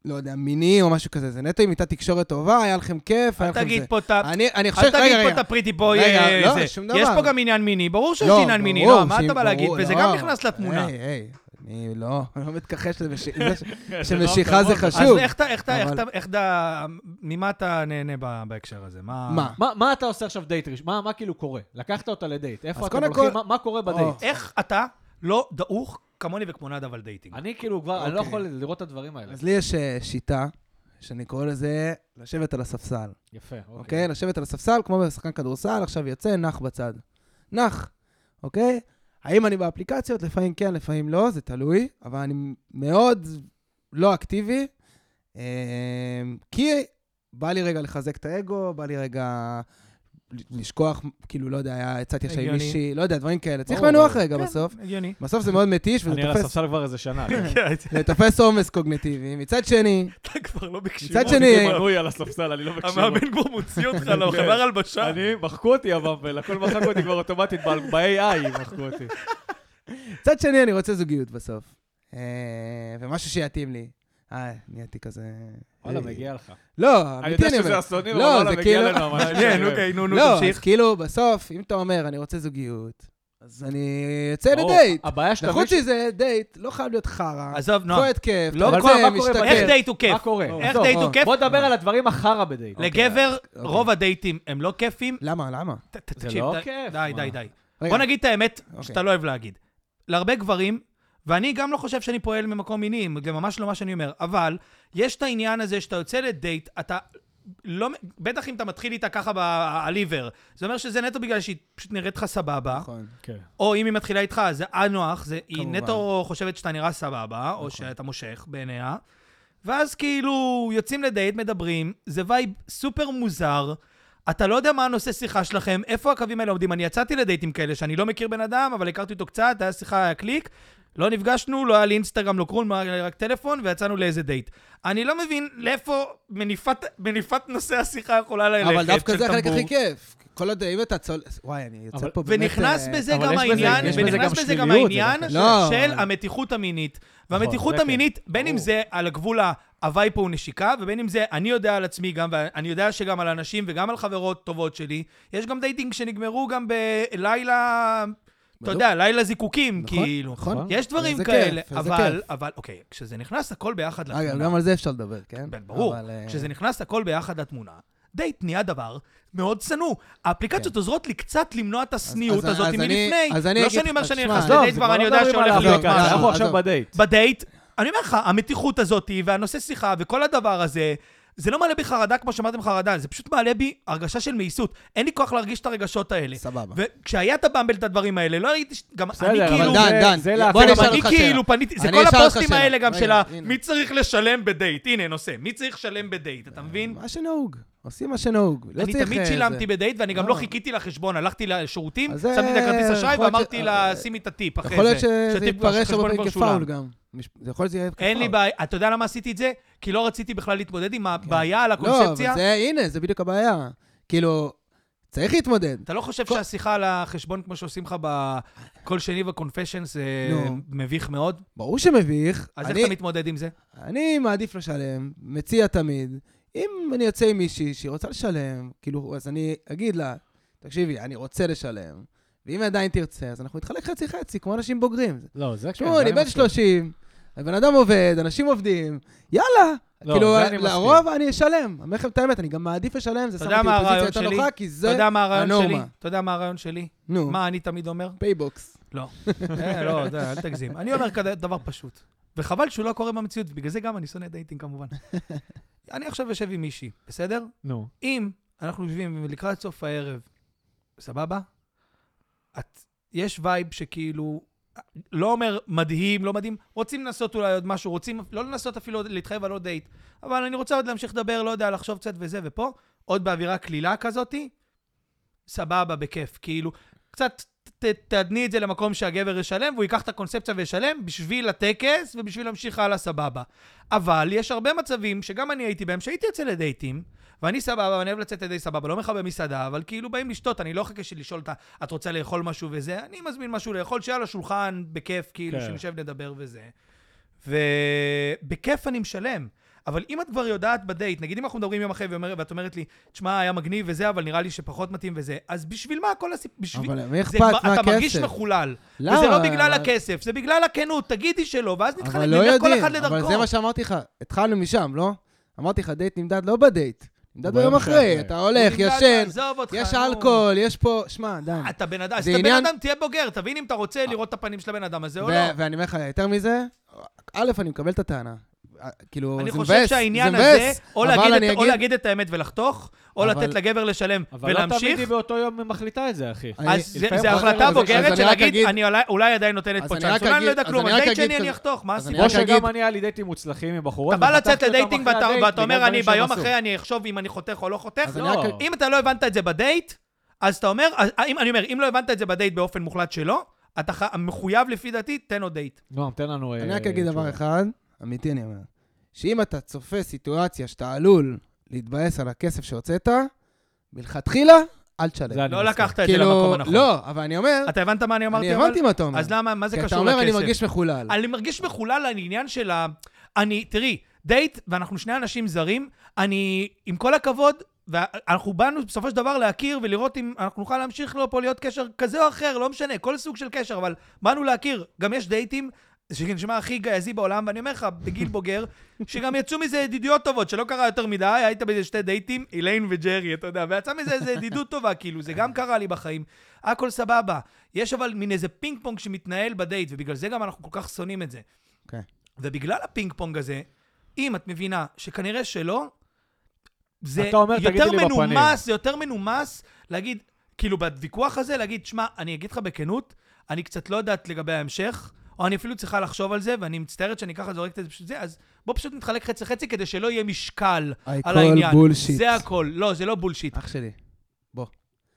לא יודע, מיני או משהו כזה, זה נטו אם הייתה תקשורת טובה, היה לכם כיף, היה אל לכם תגיד זה. פה את ה... אני, אני חושב, אל תגיד רגע, פה רגע. את הפריטי בוי, רגע, אה, לא, זה. שום יש דבר. פה גם עניין מיני, ברור שיש לא, עניין מיני, ברור, לא, מה שאם- אתה בא להגיד? ברור, וזה לא. גם נכנס לתמונה. היי, היי, אני לא, אני לא מתכחש לזה, ש- זה ש- כן, זה שמשיכה נועם זה כמוך. חשוב. לא אז איך אתה, איך אתה, איך אבל- אתה, איך אתה, ממה אתה נהנה ב- בהקשר הזה? מה? מה? מה- מה אתה עושה עכשיו דייט ראשון? מה- מה כאילו קורה? לקחת אותה לדייט, אז איפה אתם קודם הולכים? כל- מה- מה קורה בדייט? איך אתה לא דעוך כמוני וכמו נדב על דייטינג? אני כאילו כבר, אני לא אוקיי. יכול לראות את הדברים האלה. אז לי יש אה, שיטה, שאני קורא לזה לשבת על הספסל. יפה, אוקיי? אוקיי. Okay, לשבת על הספסל, כמו בשחקן כדורסל, עכשיו יוצא, נח בצד. נח, אוקיי? האם אני באפליקציות? לפעמים כן, לפעמים לא, זה תלוי, אבל אני מאוד לא אקטיבי, אמ, כי בא לי רגע לחזק את האגו, בא לי רגע לשכוח, כאילו, לא יודע, היה יצאתי עכשיו עם הגיוני. מישהי, לא יודע, דברים כאלה. צריך ברור, לנוח ברור. כן. רגע בסוף. הגיוני. בסוף זה מאוד מתיש, וזה אני על תופס- הספסל כבר איזה שנה. כן. זה תופס עומס קוגנטיבי. מצד שני, אתה כבר לא בקשיבות. מצד שני, אני בנוי על הספסל, אני לא מקשיב. המאמן כבר מוציא אותך לא, כן. לחדר הלבשה. אני, מחקו אותי הבמבל, הכל מחק אותי כבר אוטומטית, ב- ב-AI מחקו אותי. מצד שני, אני רוצה זוגיות בסוף. אה, ומשהו שיתאים לי. אה, נהייתי כזה... וואלה, היי. מגיע לך. לא, אני אמיתי יודע אני שזה אומר. אסוני, אבל לא, וואלה, זה מגיע כאילו- לנו. אבל אני כן, אוהב. אוקיי, נו, נו, לא, אז תמשיך. כאילו, בסוף, אם אתה אומר, אני רוצה זוגיות, אז אני יוצא ברור, לדייט. הבעיה שאתה נכון שזה דייט, לא חייב להיות חרא. עזוב, נועם. פה התקף, לא, אבל אתה מה- מה יוצא, קורה משתכר. איך דייט הוא מה כיף? קורה? איך עזוב, דייט הוא כיף? בוא נדבר על הדברים החרא בדייט. לגבר, אוקיי. רוב הדייטים הם לא כיפים. למה, למה? ת- ת- זה תקשיב, לא די- כיף, די, מה? די, די. רגע, בוא נגיד את האמת אוקיי. שאתה לא אוהב להגיד. להרבה גברים, ואני גם לא חושב שאני פועל ממקום מיני, זה ממש לא מה שאני אומר, אבל יש את העניין הזה שאתה יוצא לדייט, אתה לא, בטח אם אתה מתחיל איתה ככה בעליבר, זה אומר שזה נטו בגלל שהיא פשוט נראית לך סבבה, נכון. כן. או אם היא מתחילה איתך, אז זה אה נוח, זה, היא כמובן. נכון. נטו חושבת שאתה נראה סבבה, או שאתה מושך בעיניה, ואז כאילו יוצאים לדייט, מדברים, זה וייב סופר מוזר. אתה לא יודע מה הנושא שיחה שלכם, איפה הקווים האלה עומדים. אני יצאתי לדייטים כאלה שאני לא מכיר בן אדם, אבל הכרתי אותו קצת, היה שיחה, היה קליק, לא נפגשנו, לא היה לי אינסטגרם, לא קרון, היה לי רק טלפון, ויצאנו לאיזה דייט. אני לא מבין לאיפה מניפת, מניפת נושא השיחה יכולה ללכת, אבל דווקא אה, של זה החלק טמבור. הכי כיף. כל עוד, אם אתה צול... וואי, אני יוצא אבל- פה באמת... ונכנס אה, בזה אבל גם יש בזה- העניין, יש בזה גם ונכנס בזה גם שליליות, זה העניין לא של קשה. המתיחות המינית. נכון, והמתיחות זה המינית, בין אם ברור. זה על הגבול ההוואי פה הוא נשיקה, ובין אם זה אני יודע על עצמי גם, ואני יודע שגם על אנשים וגם על חברות טובות שלי, יש גם דייטינג שנגמרו גם בלילה, אתה בדיוק. יודע, לילה זיקוקים, נכון, כאילו. נכון. נכון. יש דברים איזה כאלה, כיף, איזה אבל, כיף. אבל, אוקיי, כשזה נכנס הכל ביחד לתמונה. אגב, גם על זה אפשר לדבר, כן? כן, ברור. אבל, אה, כשזה נכנס הכל ביחד לתמונה, דייט נהיה דבר מאוד שנוא. האפליקציות עוזרות לי קצת למנוע את השניאות כן. אז- הזאת אז אני- אז מלפני. אני לא אגיד שאני אומר לך, שאני תשמע, נכנס עזוב, לדייט, זה כבר אני לא יודע מדברים שהולך על להיות האפליקציה, משהו. אנחנו משהו. עכשיו עזוב. בדייט. בדייט, אני אומר לך, המתיחות הזאת והנושא שיחה וכל הדבר הזה, זה לא מעלה בי חרדה כמו שאמרתם חרדה, זה פשוט מעלה בי הרגשה של מאיסות. אין לי כוח להרגיש את הרגשות האלה. סבבה. וכשהיה את הבמבל את הדברים האלה, לא ראיתי, ש- גם אני בסדר, אבל כאילו... דן, זה- דן, זה להפך, גם אשאל אני כאילו פניתי, זה כל אני אשאל אותך הפוסטים שאלה. האלה גם רגע, של ה- הנה. מי צריך לשלם בדייט, הנה נושא, מי צריך לשלם בדייט, אתה מבין? מה שנהוג, עושים מה שנהוג. לא אני צריך, תמיד אה, שילמתי זה. בדייט, ואני גם לא לא. חיכיתי לחשבון, הלכתי לשירותים, אז שמתי זה- את הכרטיס אשראי יכול להיות ואמרתי ש- לה, שימי את הטיפ אחרי זה. יכול להיות שזה שהטיפ- יתפרש החשבון הרבה כבר פעמים שולם. כפאול גם. מש- זה יכול להיות שזה יהיה כפאול. אין לי בעיה, אתה יודע למה עשיתי את זה? כי לא רציתי בכלל להתמודד עם הבעיה על לא, הקונספציה. אבל זה, הנה, זה בדיוק הבעיה. כאילו, צריך להתמודד. אתה לא חושב כל- שהשיחה על החשבון, כמו שעושים לך בכל שני ב-confession, זה נו. מביך מאוד? ברור שמביך. אז איך אני- אתה מתמודד עם זה? אני מעדיף לשלם, מציע תמיד. אם אני יוצא עם מישהי שהיא רוצה לשלם, כאילו, אז אני אגיד לה, תקשיבי, אני רוצה לשלם, ואם היא עדיין תרצה, אז אנחנו נתחלק חצי-חצי, כמו אנשים בוגרים. לא, זה כן. תשמעו, זה אני בן מסכים. 30, הבן אדם עובד, אנשים עובדים, יאללה. לא, כאילו, זה אני מסכים. לרוב אני אשלם. אומר לכם את האמת, אני גם מעדיף לשלם, אתה זה שם יודע אותי מה הרעיון בפוזיציה יותר שלי? נוחה, כי אתה זה יודע מה הרעיון שלי? הנורמה. אתה יודע מה הרעיון שלי? נו, מה אני תמיד אומר? פייבוקס. לא. אה, לא, אתה יודע, אל תגזים. אני אומר כזה דבר פשוט. וחבל שהוא לא קורה במציאות, בגלל זה גם אני שונא דייטינג כמובן. אני עכשיו יושב עם מישהי, בסדר? נו. אם אנחנו יושבים לקראת סוף הערב, סבבה? את, יש וייב שכאילו, לא אומר מדהים, לא מדהים, רוצים לנסות אולי עוד משהו, רוצים לא לנסות אפילו להתחייב על עוד דייט, אבל אני רוצה עוד להמשיך לדבר, לא יודע, לחשוב קצת וזה ופה, עוד באווירה קלילה כזאתי, סבבה, בכיף, כאילו, קצת ת, תעדני את זה למקום שהגבר ישלם, והוא ייקח את הקונספציה וישלם בשביל הטקס ובשביל להמשיך הלאה סבבה. אבל יש הרבה מצבים שגם אני הייתי בהם, שהייתי יוצא לדייטים, ואני סבבה, ואני אוהב לצאת לדי סבבה, לא מחבא מסעדה, אבל כאילו באים לשתות, אני לא אחכה שלשאול אותה, את רוצה לאכול משהו וזה, אני מזמין משהו לאכול, שיהיה על השולחן, בכיף, כאילו, כן. שנשב נדבר וזה. ובכיף אני משלם. אבל אם את כבר יודעת בדייט, נגיד אם אנחנו מדברים יום אחרי ואומר- ואת אומרת לי, תשמע, היה מגניב וזה, אבל נראה לי שפחות מתאים וזה, אז בשביל מה כל הסיפור? בשביל... אבל מי זה אכפת מ- מה אתה מרגיש הכסף? מחולל. למה? וזה לא בגלל אבל- הכסף, זה בגלל הכנות, תגידי שלא, ואז נתחלק, אבל לא נלך כל יודעים, אחד לדרכו. אבל זה מה שאמרתי לך, התחלנו משם, לא? אמרתי לך, דייט נמדד לא בדייט, נמדד ביום ביום שאחרי. אחרי, אתה הוא הולך, נמדד, ישן, עזוב אותך, יש נו. אה, אלכוהול, יש פה... שמע, דן. אתה בן אדם, אז זה אתה בן עניין- אדם, תהיה בוגר, תבין אם אתה רוצה לראות את הפנים של הבן אדם הזה או ו- לא. ואני אומר לך, יותר מזה, א', אני מקבל את הטענה. אה, כאילו, אני זה חושב מבאס, שהעניין זה הזה, מבאס, או אבל להגיד אני את- או אגיד- להגיד את האמת ולחתוך, או אבל- לתת לגבר לשלם אבל לא תמיד ולהמשיך. היא באותו יום מחליטה את זה, אחי. אני- לא אז זה- לפעמים זה חוזר החלטה לזה, אז בוגרת אני של רק להגיד, אגיד- אני אולי- אולי עדיין נותנת אז פה אני צ'אנס, רק אולי אני לא אגיד- יודע אז כלום, אני על רק דייט אגיד שני אני כזה- אחתוך, מה אז הסיפור? אני כמו רק אגיד- שגם אני היה לי דייטים מוצלחים עם בחורות. אתה בא וחתכתי לצאת אותם לדייטינג אחרי ואתה- הדייט ואתה בגלל אומר, אני דברים שהם ביום עשו. אחרי אני אחשוב אם אני חותך או לא חותך. אז אני לא. רק- אם אתה לא הבנת את זה בדייט, אז אתה אומר, אז- אם- אני אומר, אם לא הבנת את זה בדייט באופן מוחלט שלא, אתה ח- מחויב לפי דעתי, תן עוד דייט. נועם, תן לנו... אני אה, רק אגיד דבר תשובה. אחד, אמיתי אני אומר, שאם אתה צופה סיטואציה שאתה עלול להתבאס על הכסף שהוצאת, מלכתחילה, אל זה תשלם. אני לא מסכים. לקחת את זה למקום הנכון. לא, אבל אני אומר, אתה הבנת מה אני אמרתי? אני אבל? הבנתי מה אתה אומר. אז למה, מה זה כי קשור אתה לכסף? אומר, אני מרגיש מחולל. אני מרגיש מחולל על עניין של ה... אני, תראי, דייט, ואנחנו שני אנשים זרים, אני, עם כל הכבוד, ואנחנו באנו בסופו של דבר להכיר ולראות אם אנחנו נוכל להמשיך לו פה להיות קשר כזה או אחר, לא משנה, כל סוג של קשר, אבל באנו להכיר. גם יש דייטים, שזה נשמע הכי גייזי בעולם, ואני אומר לך, בגיל בוגר, שגם יצאו מזה ידידויות טובות, שלא קרה יותר מדי, היית באיזה שתי דייטים, איליין וג'רי, אתה יודע, ויצא מזה איזה ידידות טובה, כאילו, זה גם קרה לי בחיים. הכל סבבה. יש אבל מין איזה פינג פונג שמתנהל בדייט, ובגלל זה גם אנחנו כל כך שונאים את זה. אוקיי. ובגלל הפינג פונג הזה, אם את מבינה שכנראה שלא, זה אתה אומר, תגידי יותר לי בפנים. מנומס, זה יותר מנומס להגיד, כאילו בוויכוח הזה, להגיד, שמע, אני אגיד לך בכנות, אני קצת לא יודעת לגבי ההמשך, או אני אפילו צריכה לחשוב על זה, ואני מצטערת שאני ככה זורקת את זה פשוט זה, אז בוא פשוט נתחלק חצי-חצי כדי שלא יהיה משקל על הכל העניין. בולשיט. זה הכל. לא, זה לא בולשיט. אח שלי,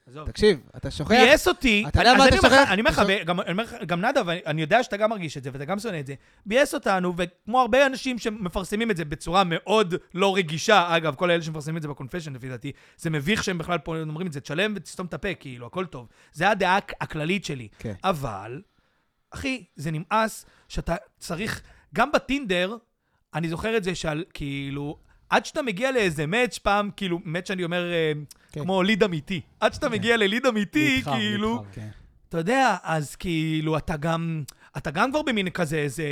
עזוב. תקשיב, אתה שוכח. פייס אותי. אתה יודע אז מה אני אתה אומר לך- שוכח? אני אומר לך, אתה ו- גם- אני אומר לך, גם נדב, אני- אני יודע שאתה גם מרגיש את זה, ואתה גם שונא את זה. ביאס אותנו, וכמו הרבה אנשים שמפרסמים את זה בצורה מאוד לא רגישה, אגב, כל אלה שמפרסמים את זה בקונפשן, לפי דעתי, זה מביך שהם בכלל פה אומרים את זה, תשלם ותסתום את הפה, כאילו, הכל טוב. זה הדעה הכ- הכללית שלי. כן. אבל, אחי, זה נמאס שאתה צריך, גם בטינדר, אני זוכר את זה שעל, כאילו, עד שאתה מגיע לאיזה מאץ' פעם, כאילו, מאץ' שאני אומר, אה, כן. כמו ליד אמיתי. עד שאתה מגיע לליד אמיתי, נדחם, כאילו, נדחם. כן. אתה יודע, אז כאילו, אתה גם, אתה גם כבר במין כזה, איזה,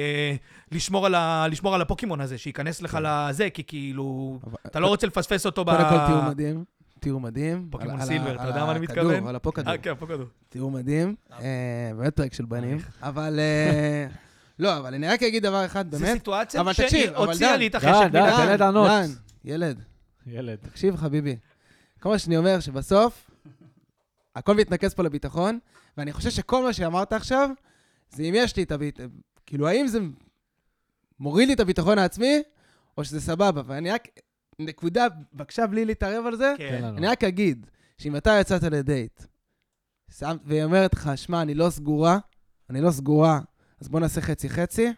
לשמור על, ה, לשמור על הפוקימון הזה, שייכנס לך לזה, כי כאילו, כן. אבל- אתה לא רוצה לפספס אותו ב... קודם כל תיאור מדהים. תיאור מדהים. פוקימון על- על ה- סילבר, אתה על יודע מה אני הכדור, מתכוון? על הפוקדור. אה, כן, הפוקדור. תיאור מדהים. אה, באמת פרק של בנים. אבל... אה, לא, אבל אני רק אגיד דבר אחד, זו באמת. סיטואציה אבל שהיא תקשיב, אבל הוציאה אה, דן, לי את דן, החשק. דן, מדעת. תן לה לענות. דן, ילד, ילד. תקשיב, חביבי, כל מה שאני אומר שבסוף, הכל מתנקז פה לביטחון, ואני חושב שכל מה שאמרת עכשיו, זה אם יש לי את הביטחון, כאילו, האם זה מוריד לי את הביטחון העצמי, או שזה סבבה. ואני רק, נקודה, בבקשה, בלי להתערב על כן. זה, תן לנו. אני רק אגיד, שאם אתה יצאת לדייט, שם, והיא אומרת לך, שמע, אני לא סגורה, אני לא סגורה, אז בוא נעשה חצי-חצי,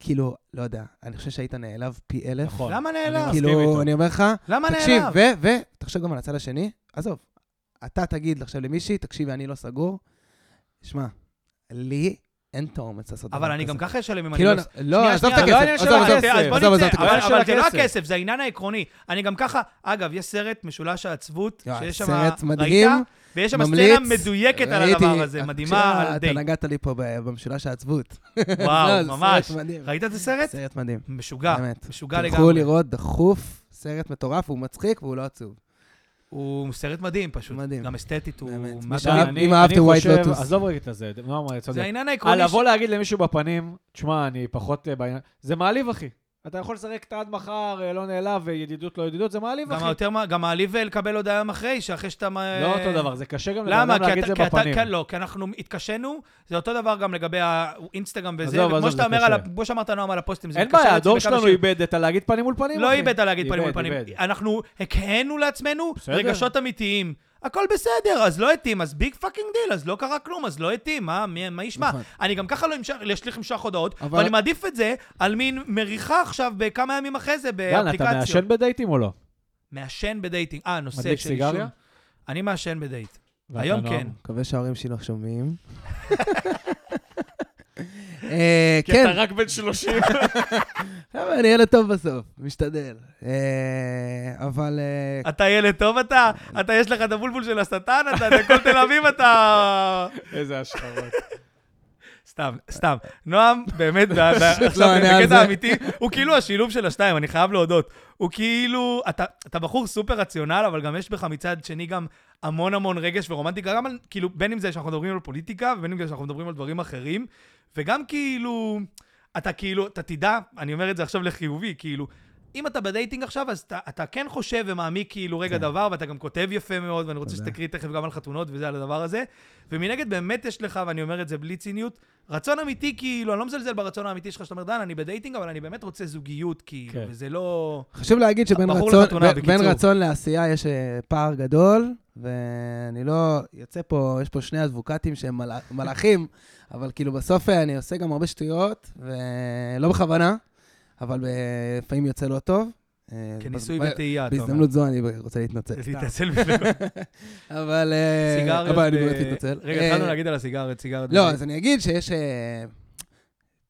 כאילו, לא יודע, אני חושב שהיית נעלב פי אלף. נכון. למה אני נעלב? מסכים איתו. כאילו, אני אומר לך, למה נעלב? תקשיב, ו, ו, תחשוב גם על הצד השני, עזוב, אתה תגיד עכשיו למישהי, תקשיבי, אני לא סגור, שמע, לי אין את האומץ לעשות דבר אבל אני גם ככה אשלם אם אני כאילו, לא... אני- לא, עזוב את שנייה, לא הכסף, העניין של עזוב, עזוב, הכסף. אז בוא עזוב, עזוב נצא, את הכסף. אבל- הכסף. אבל זה לא הכסף. הכסף, זה העניין העקרוני. אני גם ככה, אגב, יש סרט משולש העצבות, יואי, שיש שם, סרט ראית? מדהים, ויש שם ממליץ. סצנה מדויקת על ראיתי, הדבר הזה, מדהימה עכשיו על אתה דייט. נגעת לי פה ב- במשולש העצבות. לא, וואו, זה ממש. סרט מדהים. ראית את הסרט? סרט מדהים, משוגע, באמת. משוגע תלכו לגמרי. לראות דחוף, סרט מטורף, הוא מצחיק והוא לא עצוב. הוא סרט מדהים פשוט. מדהים. גם אסתטית הוא... באמת. מדהים. עכשיו, אני- אם אני אהבתם White חושב- Lotus. עזוב רגע את הזה, נועם, אני צודק. זה העניין אה, העקרוני. ש- לבוא להגיד למישהו בפנים, תשמע, אני פחות אה, בעניין... זה מעליב, אחי. אתה יכול לסרק את עד מחר, אה, לא נעלב, וידידות לא ידידות, זה מעליב, גם אחי. היותר מה- גם מעליב לקבל הודעה יום אחרי, שאחרי שאתה... מ- לא אותו דבר, זה קשה גם לבן למה? אדם כי להגיד אתה, את זה כי אתה, בפנים. כן, לא, כי אנחנו התקשנו, זה אותו דבר גם לגבי האינסטגרם וזה, עזוב, וכמו עזוב, שאתה זה אומר, קשה. על, ה- כמו שאמרת נועם על הפוסטים, זה אין התקשר בעיה, אצלי הדור בכמה שלנו שנים. איבד את הלהגיד פנים מול פנים, לא אחי. איבד על להגיד פנים מול איבד, פנים. איבד. אנחנו הקהינו לעצמנו בסדר. רגשות אמיתיים. הכל בסדר, אז לא התאים, אז ביג פאקינג דיל, אז לא קרה כלום, אז לא התאים, מה, מי- מה ישמע? נכון. אני גם ככה לא אמשך- יש לי למשוך הודעות, אבל- ואני מעדיף את זה על מין מריחה עכשיו בכמה ימים אחרי זה דן, אתה באפליקציות. מעשן בדייטים או לא? מעשן בדייטינג. אה, נושא של מדליק עישון. סיגריה? אני מעשן בדייט. ואתה לא? היום נועם? כן. מקווה שההורים שלי לא שומעים. אה, כן, רק בן 30. אבל אני ילד טוב בסוף, משתדל. אה, אבל אה, אתה ילד טוב אתה? אתה, יש לך את הבולבול של השטן? אתה, בכל תל אביב אתה... איזה השחרות. סתם, סתם. נועם, באמת, ב- ב- עכשיו עונה לא, על בקטע זה. אמיתי, הוא כאילו השילוב של השתיים, אני חייב להודות. הוא כאילו, אתה- אתה בחור סופר רציונל, אבל גם יש בך מצד שני גם המון המון רגש ורומנטיקה, גם על, כאילו, בין אם זה שאנחנו מדברים על פוליטיקה, ובין אם זה שאנחנו מדברים על דברים אחרים, וגם כאילו, אתה כאילו, אתה תדע, אני אומר את זה עכשיו לחיובי, כאילו, אם אתה בדייטינג עכשיו, אז אתה, אתה כן חושב ומעמיק כאילו רגע דבר, ואתה גם כותב יפה מאוד, ואני רוצה כן." תודה. שתקריא תכף גם על חתונות וזה, על הדבר הזה. ומנגד, באמת יש לך, ואני אומר את זה בלי ציניות, רצון אמיתי, כאילו, אני לא מזלזל ברצון האמיתי שלך, שאתה אומר, דן, אני בדייטינג, אבל אני באמת רוצה זוגיות, כאילו, כן. וזה לא... חשוב להגיד שבין הבחור רצון, לחתונה, ב- בקיצור. בין רצון לעשייה יש אה, פער גדול, ואני לא... יוצא פה, יש פה שני אדבוקטים שהם מלא- מלאכים, אבל כאילו בסוף אה, אני עושה גם הרבה שטויות, ולא בכוונה, אבל אה, לפעמים יוצא לא טוב. אה, כניסוי ב- וטעייה, אתה אומר. בהזדמנות זו אני רוצה להתנצל. להתנצל בפני אבל... אה, סיגריות. אבל אני אה, באמת מתנצל. רגע, אה, התחלנו להגיד על הסיגריות, סיגריות. לא, אז אני אגיד שיש... אה,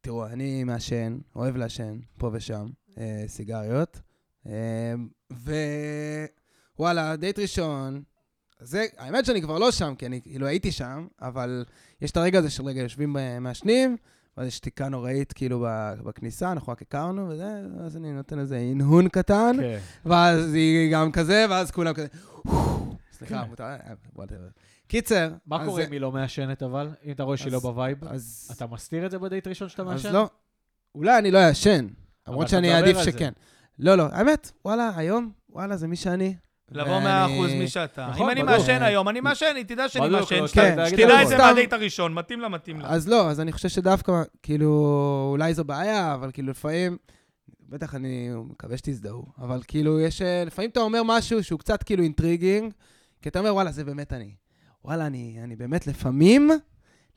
תראו, אני מעשן, אוהב לעשן, פה ושם, אה, סיגריות. ווואלה, דייט ראשון. זה, האמת שאני כבר לא שם, כי אני כאילו הייתי שם, אבל יש את הרגע הזה של רגע יושבים אה, מעשנים, ואז יש שתיקה נוראית כאילו ב- בכניסה, אנחנו רק הכרנו וזה, אז אני נותן איזה הנהון קטן, כן. ואז היא גם כזה, ואז כולם כזה... סליחה, מותר... אה, whatever. קיצר, כן. מה אז- קורה אם היא לא מעשנת, אבל? אם אתה רואה שהיא לא אז- בווייב? אז... אתה מסתיר את זה בדייט ראשון שאתה מעשן? אז לא. אולי אני לא אעשן, למרות אתה שאני מדבר אעדיף על זה. שכן. לא, לא, האמת, וואלה, היום, וואלה, זה מי שאני. לבוא ואני- 100% מי שאתה. נכון, אם אני בדיוק. מעשן היום, אני מעשן, היא תדע שאני בדיוק, מעשן. לא, שתדע- כן, שתדע את זה סתם. מהדייט הראשון, מתאים לה, מתאים לה. אז לא, אז אני חושב שדווקא, כאילו, אולי זו בעיה, אבל כאילו לפעמים, בטח אני מקווה שתזדהו, אבל כאילו יש, אה, לפעמים אתה אומר משהו שהוא קצת כאילו אינטריגינג, כי אתה אומר, וואלה, זה באמת אני. וואלה, אני, אני באמת לפעמים,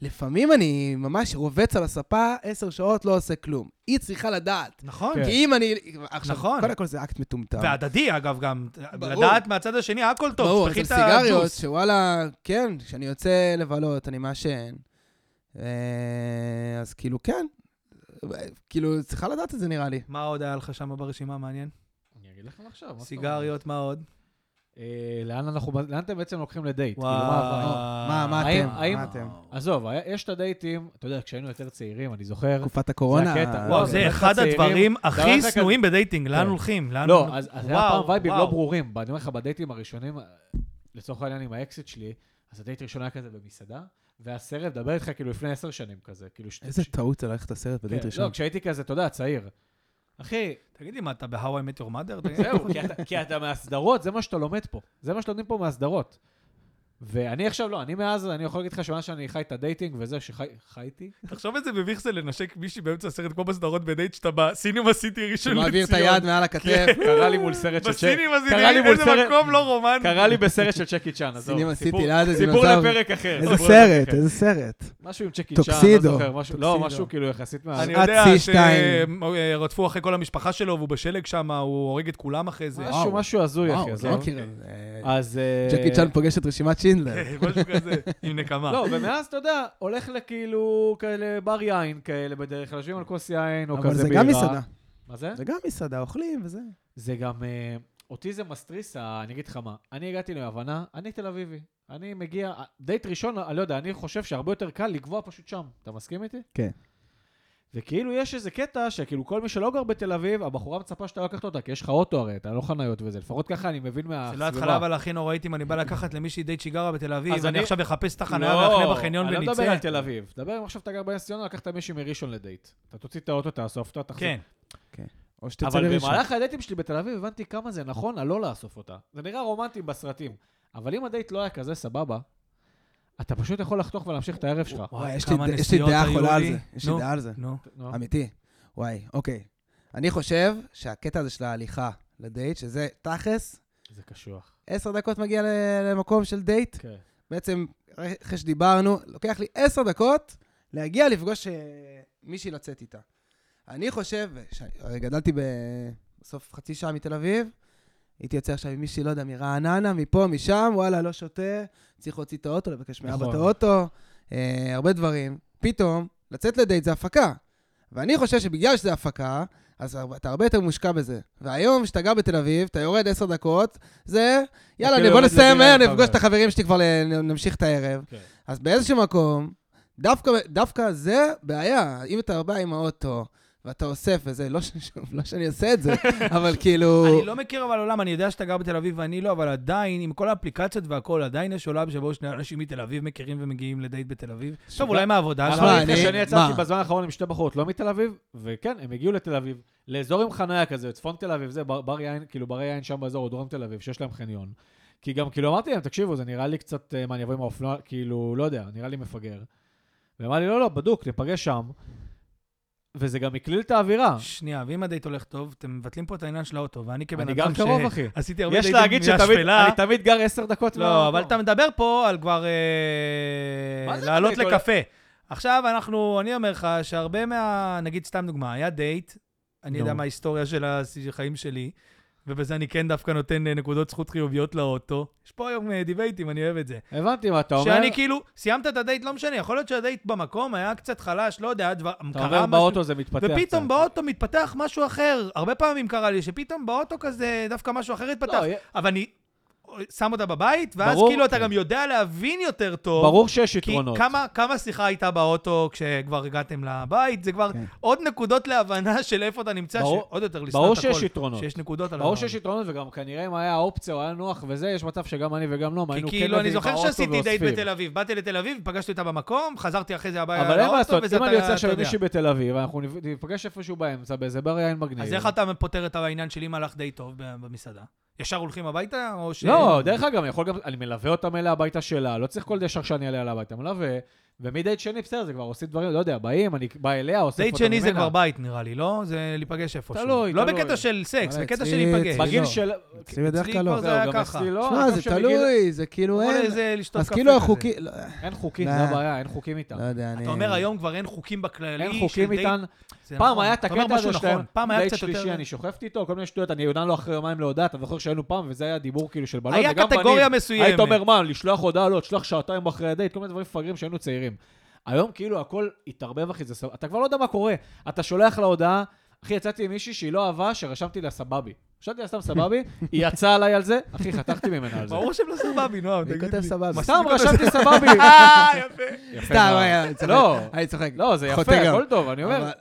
לפעמים אני ממש רובץ על הספה עשר שעות, לא עושה כלום. היא צריכה לדעת. נכון. כן. כי אם אני... עכשיו, נכון. קודם כל זה אקט מטומטם. והדדי, אגב, גם. ברור. לדעת מהצד השני, הכל טוב. ברור, תפתחי את אבל הג'וס. סיגריות, שוואלה, כן, כשאני יוצא לבלות, אני מעשן. אה, אז כאילו, כן. כאילו, צריכה לדעת את זה, נראה לי. מה עוד היה לך שם ברשימה מעניין? אני אגיד לכם עכשיו. מה זאת אומרת? סיגריות, מה עוד? אה, לאן אנחנו, לאן אתם בעצם לוקחים לדייט? כאילו, וואו. מה הבעיה? מה, מה האם- אתם? האם- מה אתם? עזוב, היה- יש את הדייטים, אתה יודע, כשהיינו יותר צעירים, אני זוכר. תקופת הקורונה. זה הקטע. וואו, אה, אוקיי. זה באמת אחד הצעירים, הדברים דבר הכי אחד שנואים בדייטינג, לאן כן. הולכים? לאן- לא, אז אז היה וואו, פעם וייבים וואו. לא ברורים. אני אומר לך, בדייטים הראשונים, אה, לצורך העניין עם האקסיט שלי, אז הדייט הראשון היה כזה במסעדה, והסרט מדבר איתך כאילו לפני עשר שנים כזה. כאילו ש- איזה ש- טעות זה ללכת לסרט כן, בדייט לא, ראשון. כשהייתי כזה, אתה יודע, צעיר. אחי, תגיד לי, מה, אתה ב-How I Met Your Mother? תגיד לי. זהו, כי אתה- כי אתה מהסדרות, זה מה שאתה לומד פה. זה מה שלומדים פה מהסדרות. ואני עכשיו, לא, אני מאז, אני יכול להגיד לך שמאז שאני חי את הדייטינג וזה, שחייתי, תחשוב איזה מביך זה לנשק מישהי באמצע הסרט, כמו בסדרות בדייט, שאתה בסינמה סיטי ראשון לציון. מעביר את היד מעל הכתף. כן, קרה לי מול סרט של צ'ק. בסינמה קרה לי סיטי, מול איזה סרט- מקום לא רומנטי. קרה לי בסרט של צ'קי צ'אן, עזוב. סינים סיפור- עשיתי ליד איזה סיפור דינוזאור. לפרק אחר. איזה סיפור לפרק סרט, אחר. איזה סרט. משהו עם צ'קי צ'אן, לא טוקסידו. זוכר, משהו- לא, טוקסידו. משהו כאילו יחסית מה... אני עד יודע C2. שרדפו אחרי כל המשפחה שלו, והוא בשלג שם, הוא הורג את כולם אחרי זה. משהו, משהו הזוי, אחי. וואו, עזוב. לא מכיר את זה. אז... אה, ג'קי צ'אן פוגש את רשימת שינדלר. כן, משהו כזה, עם נקמה. לא, ומאז, אתה יודע, הולך לכאילו כאלה בר יין כאלה בדרך כלל, יושבים על כוס יין או לא כזה אבל בירה. זה גם מסעדה. מה זה? זה גם מסעדה, אוכלים וזה. זה גם... אה, אותי זה מסטריס, ה- אני אגיד לך מה. אני הגעתי להבנה, אני תל אביבי. אני מגיע, אה, דייט ראשון, אני לא יודע, אני חושב שהרבה יותר קל לקבוע פשוט שם. אתה מסכים איתי? כן. וכאילו יש איזה קטע שכאילו כל מי שלא גר בתל אביב, הבחורה מצפה שאתה לקחת אותה, כי יש לך אוטו הרי, אתה לא חניות וזה. לפחות ככה אני מבין מהסביבה. זה לא התחלה, אבל הכי נוראית אם אני בא לקחת למישהי דייט שגרה בתל אביב, אז אני אני- עכשיו אחפש את החניה לא, ואחנה בחניון אני לא מדבר וניצא. על תל אביב. דבר אם עכשיו אתה גר בנס ציונה, לקחת מישהי מראשון לדייט. אתה תוציא את האוטו, תאסוף אותה, תחזור. כן. או שתצא אבל לראשון. במהלך הדייטים שלי בתל אביב הבנתי כמה זה נכון הלא לאסוף אותה. זה נראה רומנטי בסרטים. אבל אם הדייט לא היה כזה סבבה, אתה פשוט יכול לחתוך ולהמשיך את הערב שלך. וואי, יש לי כמה ד- יש לי נסיעות דעה היו חולה על לי. זה. יש לי נו, דעה על זה. נו. נו. אמיתי. וואי, אוקיי. אני חושב שהקטע הזה של ההליכה לדייט, שזה תכלס, זה קשוח. עשר דקות מגיע ל- למקום של דייט. כן. בעצם, אחרי שדיברנו, לוקח לי עשר דקות להגיע לפגוש אה, מישהי לצאת איתה. אני חושב, ש- הרי גדלתי ב- בסוף חצי שעה מתל אביב, הייתי יוצא עכשיו עם מישהי, לא יודע, מרעננה, מפה, משם, וואלה, לא שותה, צריך להוציא את האוטו, לבקש מאבא נכון. את האוטו, אה, הרבה דברים. פתאום, לצאת לדייט זה הפקה. ואני חושב שבגלל שזה הפקה, אז הר- אתה הרבה יותר מושקע בזה. והיום, כשאתה גר בתל אביב, אתה יורד עשר דקות, זה, יאללה, כאילו אני בוא יורד נסיים לדבר מהר, עם נפגוש חבר. את החברים שלי כבר, ל- נמשיך את הערב. כן. אז באיזשהו מקום, דווקא, דווקא זה בעיה. אם אתה בא עם האוטו, ואתה אוסף וזה, לא, ש... לא שאני עושה את זה, אבל כאילו... אני לא מכיר אבל עולם, אני יודע שאתה גר בתל אביב ואני לא, אבל עדיין, עם כל האפליקציות והכול, עדיין יש עולם שבו שני אנשים מתל אביב מכירים ומגיעים לדייט בתל אביב. עכשיו, לא- אולי מהעבודה שלך. אבל שמע, לפני אני- שאני יצאתי מה? בזמן האחרון עם שתי בחורות לא מתל אביב, וכן, הם הגיעו לתל אביב, לאזור עם חניה כזה, צפון תל אביב, זה בר, בר יין, כאילו ברי יין שם באזור, או דרום תל אביב, שיש להם חניון. כי גם כאילו אמרתי להם, תקשיבו, זה נראה לי קצת, אה, מה, אני אבוא עם האופנוע, כאילו, לא יודע, נראה לי מפגר. ואמר לי, לא, לא, בדוק, ניפגש שם. וזה גם הקליל את האווירה. שנייה, ואם הדייט הולך טוב, אתם מבטלים פה את העניין של האוטו, ואני כבן אני גר אדם ש... קרוב, אחי. עשיתי הרבה יש דייטים להגיד שתמיד, מהשפלה. אני תמיד גר עשר דקות לא, מהמקום. אבל אתה מדבר פה על כבר... אה, מה זה לעלות הדייט לקפה. עכשיו אנחנו, אני אומר לך שהרבה מה... נגיד, סתם דוגמה, היה דייט, אני יודע נו. מה ההיסטוריה של החיים שלי, ובזה אני כן דווקא נותן אה, נקודות זכות חיוביות לאוטו. יש פה היום אה, דיבייטים, אני אוהב את זה. הבנתי מה אתה אומר. שאני כאילו, סיימת את הדייט, לא משנה, יכול להיות שהדייט במקום היה קצת חלש, לא יודע, דבר, אתה אומר באוטו זה מתפתח. ופתאום קצת. באוטו מתפתח משהו אחר. הרבה פעמים קרה לי שפתאום באוטו כזה, דווקא משהו אחר התפתח. לא, יה- אבל אני שם אותה בבית, ואז ברור, כאילו אתה כן. גם יודע להבין יותר טוב. ברור שיש כי יתרונות. כמה, כמה שיחה הייתה באוטו כשכבר הגעתם לבית, זה כבר כן. עוד נקודות להבנה של איפה אתה נמצא, ברור- שעוד יותר לשנוא את ברור הכל. שיש יתרונות. שיש נקודות על ברור הדבר שיש הזה. יתרונות, וגם כנראה אם היה אופציה, או היה נוח וזה, יש מצב שגם אני וגם נועם כי היינו כן כאילו, אני מביאים זוכר באוטו שעשיתי דייט ואוספים. בתל אביב. באתי לתל אביב, פגשתי אותה במקום, חזרתי אחרי זה הבעיה אבל אין מה לאוטו, לעשות, וזה אם אתה- אני יוצא עכשיו אתה עם יודע. מישהי בתל אביב, אנחנו נפ- ניפגש איפשהו באמצע, באיזה בר יין מגניב. אז איך אתה פותר את העניין של אם הלך די טוב ב- במסעדה? ישר הולכים הביתה, או ש... לא, דרך אגב, אני יכול גם, אני מלווה אותם אליה הביתה שלה, לא צריך כל ישר שאני אעלה אליה הביתה, מלווה, ומדייט שני, בסדר, זה כבר עושים דברים, לא יודע, באים, אני בא אליה, אוסף אותה דייט ממנה. שני זה כבר בית, נראה לי, לא? זה להיפגש איפשהו. תלוי, לא תלוי. בקטע של סקס, וואלה, בקטע של אצלי- להיפגש. אצלי בגיל לא. של... אצלי בדרך אצלי כלל כבר לא. זה היה זהו, גם ככה. אצלי לא, שמע, אני זה חושב שבגיל- תלוי, זה כאילו כמו אין... לאיזה לשתות אז קפה כאילו כזה. החוקי... לא אין חוקים, לא. זה הבעיה, אין חוקים איתם. לא יודע, אני... אתה אומר היום כבר אין חוקים בכללי אין של חוקים דייט. איתן. זה פעם נכון. היה את אתה אומר הקטע משהו הזה שאתה... נכון. פעם היה קצת דייט שלישי, יותר... אני שוכבתי איתו, כל מיני שטויות, אני עונה לו אחרי יומיים להודעה, אתה זוכר שהיינו פעם, וזה היה דיבור כאילו של בנות, היה וגם קטגוריה בנים. מסוימת. היית אומר, מה, לשלוח הודעה? לא, תשלח שעתיים אחרי הדייט, כל מיני דברים מפגרים שהיינו צעירים. היום כאילו הכל התערבב, אחי, זה סבבה. אתה כבר לא יודע מה קורה. אתה שולח לה הודעה, אחי, יצאתי עם מישהי שהיא לא אהבה, שרשמתי לה סבבי. רשמתי לה סתם סבבי, היא יצאה עליי על זה, אחי, חטפתי ממנה על זה. ברור שהם לא סבבי, נועם, אני תגיד לי. כותב סבבה. סתם רשמתי סבבי. אה, יפה. יפה סתם, מאוד. היה, אני צוחק. לא. אני צוחק. לא, זה חוטא יפה, גם. הכל טוב, אני אומר. אבל-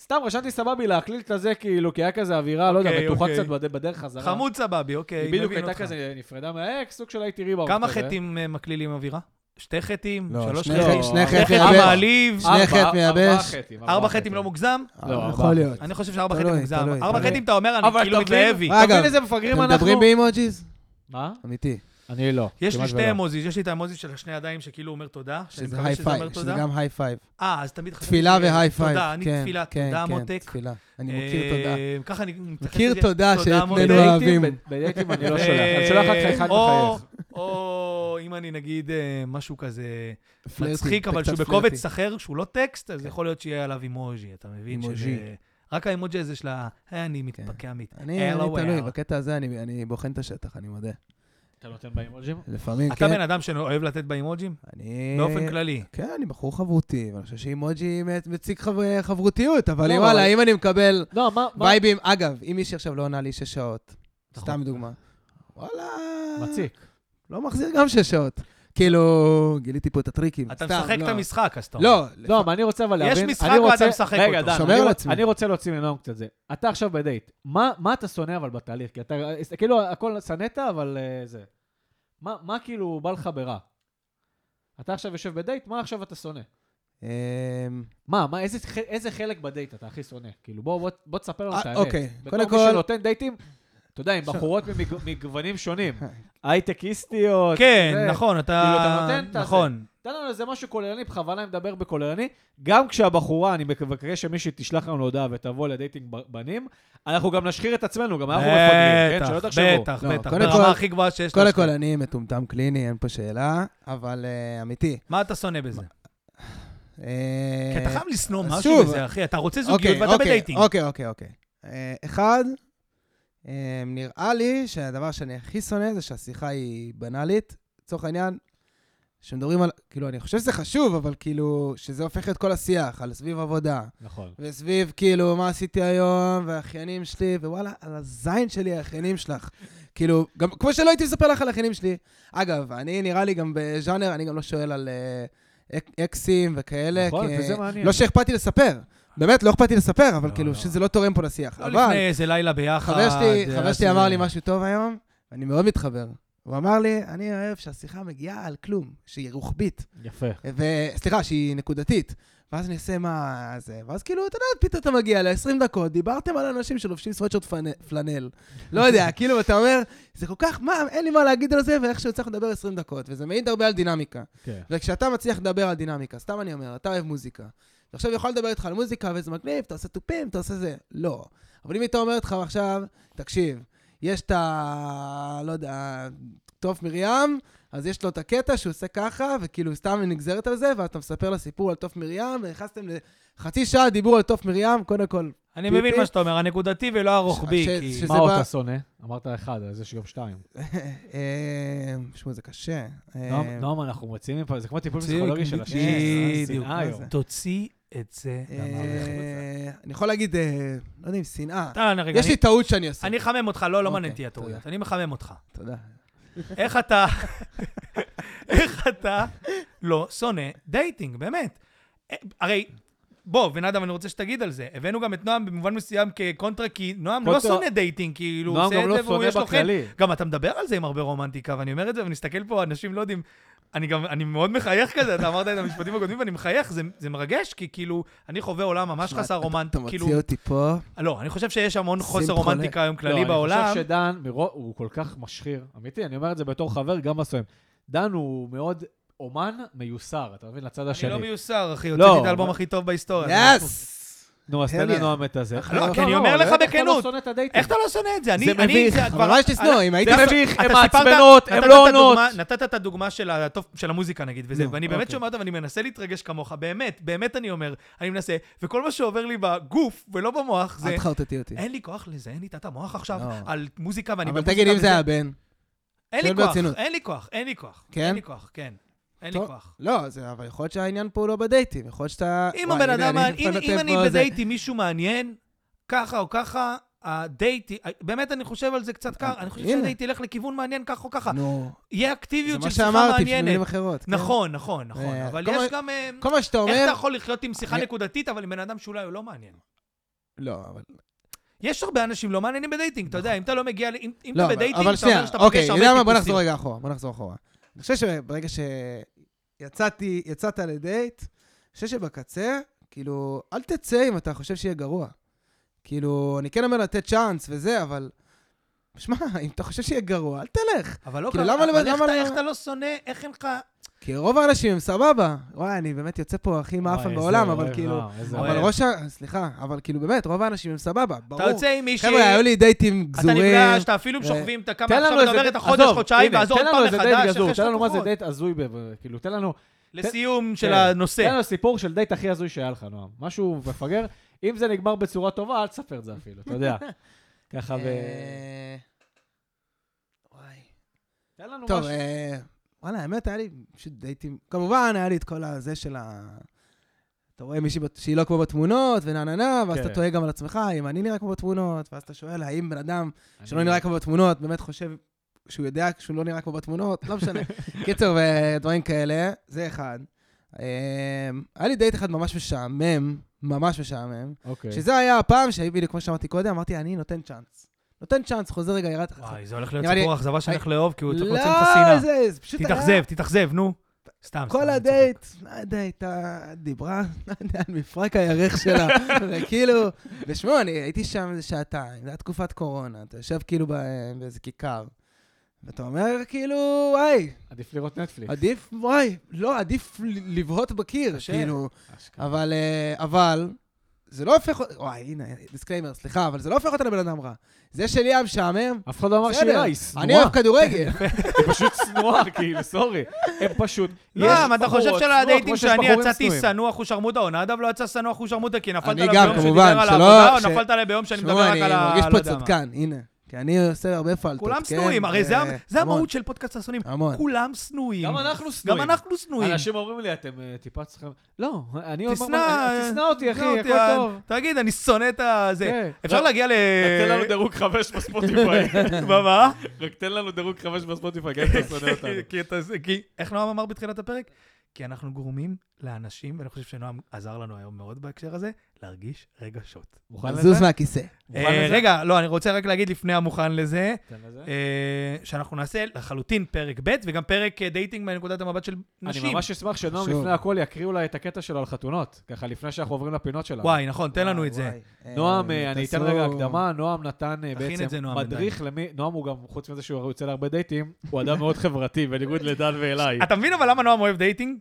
סתם רשמתי סבבי להקליל את הזה, כאילו, כי היה כזה אווירה, לא יודע, אוקיי, מתוחה אוקיי. קצת בד- בדרך חזרה. חמוד סבבי, אוקיי. היא בדיוק מבין הייתה אותך. כזה, נפרדה מהאקס, סוג אה, של הייתי ריבה. אוקיי. כמה חטים אה, מקלילים אווירה? שתי חטים, לא, שלוש שני חטים, חט- שני שני חטים. חטים ב- מעליב, שני ארבע- חטא ארבעה מייבש. חטאים, ארבע חטים לא מוגזם? לא, ארבעה אה, יכול להיות. אני חושב שארבע כן. תלוי, חטים מוגזם. תלוי, ארבע תלוי. חטים, אתה אומר, אבל אני כאילו תבין- מתלהב. בי. אגב, תבין איזה מפגרים אתם אנחנו. מדברים באימוג'יז? מה? אמיתי. אני לא. יש לי כמעט שתי ולא. אמוזיז, יש לי את האמוזיז של השני ידיים שכאילו אומר תודה, שאני שזה מקווה שזה אומר הייפייב, שזה תודה. גם הייפייב. אה, אז תמיד חשבתי... תפילה שזה- והייפייב. תודה, אני כן, תפילה, כן, תודה כן, מותק. תפילה. אני מכיר תודה. אה, ככה אני מתייחס מכיר לזה. תודה שאת מותק. בנינו לא אוהבים. בדייטים- בדייטים אני לא ו- שולח. אני שולח רק חייכן אה, או- מחייך. או אם אני נגיד אה, משהו כזה פלרטי, מצחיק, אבל קצת שהוא פלרטי. כן. בקובץ אחר, שהוא לא טקסט, אז יכול להיות שיהיה עליו אימוג'י, אתה מבין? אימוג'י. כן. שזה- רק האימוג'י הזה של ה... "אה, אני מתפקע מת... אני אני LOL. תלוי, בקטע הזה אני אני בוחן את השטח, אני מודה. אתה נותן באימוג'ים? לפעמים, אתה כן. בן אדם שאוהב לתת באימוג'ים? אני... באופן כללי. כן, אני בחור חברותי, ואני חושב שאימוג'י מציג חבר- חברותיות, אבל לא, אם אבל- וואלה, אם אני מקבל לא, מה? מה- וייבים, אגב, אם מישהי עכשיו לא עונה לי שש שעות, נכון. סתם דוגמה, וואלה, מציק. לא מחזיר גם שש שעות. כאילו, גיליתי פה את הטריקים. אתה סתם, משחק לא. את המשחק, אז אתה אומר. לא, לפ- לא, מה אני רוצה אבל יש להבין... משחק אני או אתה רוצה- משחק רגע, אותו? דן, שומר אני על רוצ- עצמי. אני רוצה להוציא ממנו קצת זה. אתה עכשיו בדייט, מה מה אתה שונא אבל בתהליך? כי אתה, אה, כאילו, הכל שנאת, אבל אה, זה. מה מה כאילו בא לך ברע? אתה עכשיו יושב בדייט, מה עכשיו אתה שונא? אמ, מה, מה, איזה ח- איזה חלק בדייט אתה הכי שונא? כאילו, בוא בוא- בוא תספר לנו אה, את האמת. אוקיי. קודם בתור מי כל- שנותן דייטים, אתה יודע, עם בחורות ממג- מגוונים שונים, הייטקיסטיות. כן, אה, זה. נכון, כאילו, אתה אתה... נותן את הזה. נכון. תן לנו איזה משהו כוללני, בכוונה אני מדבר בכוללני. גם כשהבחורה, אני מבקש שמישהי תשלח לנו הודעה ותבוא לדייטינג ב- בנים, אנחנו גם נשחיר את עצמנו, גם אנחנו מפגרים, כן? שלא בטח, תחשבו. בטח, לא, בטח. קודם כל- ברמה הכי גבוהה שיש קודם לך. כל, אני מטומטם קליני, אין פה שאלה, אבל אה, אמיתי. מה אתה שונא בזה? אה, כי אתה חייב לשנוא אז משהו שוב- בזה, אחי. אתה רוצה זוגיות אוקיי, ואתה אוקיי, בדייטינג. אוקיי, אוקיי, אוקיי. אה, אחד, אה, נראה לי שהדבר שאני הכי שונא זה שהשיחה היא בנאלית. לצורך העניין, כשמדברים על, כאילו, אני חושב שזה חשוב, אבל כאילו, שזה הופך את כל השיח, על סביב עבודה, נכון. וסביב, כאילו, מה עשיתי היום, והאחיינים שלי, ווואלה, על הזין שלי, האחיינים שלך. כאילו, גם כמו שלא הייתי מספר לך על האחיינים שלי. אגב, אני נראה לי גם בז'אנר, אני גם לא שואל על אה, אק- אקסים וכאלה. נכון, כי- וזה מעניין. לא שאכפת לי לספר. באמת, לא אכפת לי לספר, אבל לא, כאילו, לא. שזה לא תורם פה לשיח. לא אבל לפני איזה לילה ביחד. חבר אה, שלי- חבר אז שלי אמר זה- לי משהו טוב היום, אני מאוד מתחבר. הוא אמר לי, אני אוהב שהשיחה מגיעה על כלום, שהיא רוחבית. יפה. וסליחה, שהיא נקודתית. ואז אני אעשה מה זה, ואז כאילו, אתה יודע, פתאום אתה מגיע ל-20 דקות, דיברתם על אנשים שלובשים סוואטשרט פנ- פלנל. לא יודע, כאילו, אתה אומר, זה כל כך, מה, אין לי מה להגיד על זה, ואיכשהו הצלחנו לדבר 20 דקות, וזה מעיד הרבה על דינמיקה. כן. וכשאתה מצליח לדבר על דינמיקה, סתם אני אומר, אתה אוהב מוזיקה. עכשיו יכול לדבר איתך על מוזיקה, וזה מגניב, אתה עושה תופים, אתה עושה זה. לא. אבל אם הייתה אומרת לך עכשיו, תקשיב, יש את ה... לא יודע, תוף מרים, אז יש לו את הקטע שהוא עושה ככה, וכאילו סתם היא נגזרת על זה, ואז אתה מספר לה סיפור על תוף מרים, ונכנסתם לחצי שעה דיבור על תוף מרים, קודם כל... אני מבין פיפי. מה שאתה אומר, הנקודתי ולא הרוחבי, ש- כי... שזה מה עוד בא- אתה שונא? אמרת אחד, אז יש גם שתיים. אה, שמעו, זה קשה. אה, נועם, נועם, אנחנו מוציאים מפה, זה כמו טיפול מוציאים, פסיכולוגי של בדיוק, השיר. בדיוק, שנאה מה היום. זה? תוציא את זה. אה, אה, אני יכול להגיד, אה, לא יודע אם שנאה. אתה, אה, רגע, יש לי אני- טעות שאני עושה. אני אחמם אותך, לא, לא אוקיי, מעניין אותי הטעויות. תודה. אני מחמם אותך. תודה. איך אתה... איך אתה לא שונא דייטינג, באמת. אה, הרי... בוא, ונאדם, אני רוצה שתגיד על זה. הבאנו גם את נועם במובן מסוים כקונטרה, כי נועם לא קונטרה- שונא דייטינג, כאילו, הוא נועם עושה גם את לא זה והוא יש שונא לו חן. בכללי. גם אתה מדבר על זה עם הרבה רומנטיקה, ואני אומר את זה, ואני מסתכל פה, אנשים לא יודעים... אני גם, אני מאוד מחייך כזה, אתה אמרת את המשפטים הקודמים ואני מחייך, זה, זה מרגש, כי כאילו, אני חווה עולם ממש שמע, חסר אתה- רומנט, אתה כאילו... מוציא אותי פה. לא, אני חושב שיש המון שים חוסר חולה. רומנטיקה היום לא, כללי בעולם. אני חושב שדן, מרוב- הוא כל כך משחיר, אמיתי, אני אומר את זה בתור חבר, גם מסוים. דן הוא מאוד אומן מיוסר, אתה מבין? לצד השני. אני לא מיוסר, אחי, לא, הוצאתי את האלבום אבל- הכי טוב בהיסטוריה. יס! נו, אז Hell תן yeah. לנו את הזה. לא, כי אני לא, אומר אבל לך איך אתה לא בכנות. שונא את הדייטים? איך אתה לא שונא את זה? אני, זה אני, מביך, זה אבל מה יש לשנוא? אם זה הייתי... מב- מביך, אתה הן סיפרת- מעצבנות, הן נתת לא את עונות. הדוגמה- נתת את הדוגמה של הטוב- של המוזיקה נגיד, וזה, נו, ואני באמת אוקיי. שומע אותה ואני מנסה להתרגש כמוך, באמת, באמת אני אומר, אני מנסה, וכל מה שעובר לי בגוף ולא במוח זה, אל תחרטטי אותי. אין לי כוח לזיין לי את המוח עכשיו לא. על מוזיקה ואני אבל במוזיקה תגיד אם וזה- זה היה בן. אין לי שואל כוח, ברצינות. אין לי כוח, אין לי כוח. כן? אין לי כוח, כן. אין לי טוב. כוח. לא, זה- אבל יכול להיות שהעניין פה הוא לא בדייטים, יכול להיות שאתה... אם וואי, הבן הנה, אדם, אני- אם אתה אם נותן אני פה זה. בדייט עם מישהו מעניין, ככה או ככה, הדייט, באמת אני חושב על זה קצת ככה, אני חושב הנה. שהדייט ילך לכיוון מעניין כך או ככה. נו, יהיה זה אקטיביות של מה שיחה שאמרתי, מעניינת. במילים אחרות. כן. נכון, נכון, נכון, אה, אבל כל יש מה- גם... אה, כל מה שאתה איך אומר... אתה יכול לחיות עם שיחה אני- נקודתית, אבל עם בן אדם שאולי הוא לא מעניין? לא, אבל... יש הרבה אנשים לא מעניינים בדייטינג, אתה יודע, אם אתה לא מגיע, ל- אם אם נכון. לא, אתה אבל- בדייטינג, אבל אתה שנייה, אומר שאתה אוקיי, פוגש אתה הרבה יודע מה? בוא טיפוסים. נחזור רגע אחורה, בוא נחזור אחורה. אני חושב שברגע ש... יצאתי, יצאת לדייט, אני חושב שבקצה, כאילו, אל תצא אם אתה חושב שיהיה גרוע. כאילו, אני כן אומר לתת צ'אנס וזה, אבל... שמע, אם אתה חושב שיהיה גרוע, אל תלך. אבל לא כאילו, קרה- למה- אבל איך למה- אתה- למה- איך אתה לא שונא, איך אין לך... כי רוב האנשים הם סבבה. וואי, אני באמת יוצא פה הכי וואי, מאפן איזה בעולם, אוהב, אבל כאילו... אה, איזה אבל אוהב. ראש ה... סליחה, אבל כאילו באמת, רוב האנשים הם סבבה, ברור. אתה יוצא עם מישהי, חבר'ה, היו לי דייטים אתה גזורים. נפגש, אתה אפילו ו- שוכבים, אתה כמה תן עכשיו לנו אתה איזה עובר דייט, את החודש, עזוב, חודשיים, הנה, ואז עוד תן לנו פעם איזה דייט מחדש, גזור, אחרי תן לנו מה זה שלושה דייט הזוי, ב- כאילו, תן לנו... לסיום של כן. תן הנושא. לנו סיפור של דייט הכי הזוי שהיה לך, נועם. משהו מפגר. אם זה נגמר בצורה טובה, אל תספר את זה אפילו, אתה יודע. ככה ו... אה, וואי. תן לנו טוב, משהו. אה, וואלה, האמת, היה לי פשוט דייטים. כמובן, היה לי את כל הזה של ה... אתה רואה מישהי בת- שהיא לא כמו בתמונות, ונה נה נה, ואז כן. אתה תוהה גם על עצמך, אם אני נראה כמו בתמונות, ואז אתה שואל, האם בן אדם שלא אה, אני- לא. נראה כמו בתמונות, באמת חושב שהוא יודע שהוא לא נראה כמו בתמונות, לא משנה. קיצר, ודברים כאלה, זה אחד. אה, היה לי דייט אחד ממש משעמם, ממש משעמם, כן. אוקיי. שזה היה הפעם שהייתי, בדיוק כמו שאמרתי קודם, אמרתי, אני נותן צ'אנס. נותן צ'אנס, חוזר רגע, ירד... וואי, זה הולך להיות נראה לי- סיפור אכזבה שאני הולך לאהוב, כי הוא רוצה לא, ממך שנאה. זה זה פשוט היה... תתאכזב, תתאכזב, נו. סתם, סתם. כל אני הדייט, לא יודע, הייתה דיברה, לא יודע, על מפרק הירך שלה, וכאילו, ושמעו, אני הייתי שם איזה שעתיים, זו הייתה תקופת קורונה, אתה יושב כאילו ב- באיזה כיכר, ואתה אומר, כאילו, וואי, עדיף לראות נטפליקס. עדיף, וואי, לא, עדיף ל- לבהות בקיר, כן. קשה. כאילו, אשכרה. אבל, אה, אבל, זה לא הופך, וואי, הנה, דיסקליימר, סליחה, אבל זה לא הופך אותה לבן אדם רע. זה שלי היה משעמם, אף אחד לא אמר שהיא בסדר, רע, היא שנואה. אני אוהב כדורגל. היא פשוט שנואה, כאילו, סורי. הם פשוט... לא, יש אבל אתה בחורות חושב שנואות שלדייטים כמו שיש שאני בחורים יצאתי שנואים. שנוא אחושרמוטה, או נדב לא יצא שנוא אחושרמוטה, כי נפלת אני עליו גם, ביום שדיבר כמובן, על שלא- העבודה, ש- או נפלת עליו ביום שאני מדבר שמעו, רק אני על ה... מרגיש לא פה יודע מה. צדקן, הנה. כי אני עושה הרבה פלטות, כולם כן? שנואים, הרי זה אה, המ- זה המון, המהות של פודקאסט השונאים. המון. כולם שנואים. גם אנחנו שנואים. גם אנחנו שנואים. אנשים אומרים לי, אתם אה, טיפה צריכים... לא, אני אומר... תשנא... אה, תשנא אותי, אחי, תשנא הכל אותי, אה, טוב. תגיד, אני שונא את ה... זה. כן. אפשר אה, רק- להגיע ל... רק תן לנו דירוג חמש בספוטיפיי. במה? רק תן לנו דירוג חמש בספוטיפיי, גם אם אתה שונא אותנו. כי אתה... כי... איך נועם אמר בתחילת הפרק? כי אנחנו גורמים לאנשים, ואני חושב שנועם עזר לנו היום מאוד בהקשר הזה, להרגיש רגשות. מוכן זוז מהכיסא. מוכן אה, לזה? רגע, לא, אני רוצה רק להגיד לפני המוכן לזה, תן לזה. אה, שאנחנו נעשה לחלוטין פרק ב' וגם פרק אה, דייטינג מנקודת המבט של נשים. אני ממש אשמח שנועם חשוב. לפני הכל יקריאו לה את הקטע שלו על חתונות, ככה לפני שאנחנו עוברים לפינות שלנו. וואי, נכון, תן לנו את זה. נועם, אה, אני אתן רגע הקדמה, נועם נתן אה, תכין את זה, בעצם נועם, מדריך למי, נועם הוא גם, חוץ מזה שהוא יוצא להרבה דייטים, הוא אדם מאוד חברתי, בניגוד לדן ואליי. אתה מבין אבל למה נועם אוהב דייטינג?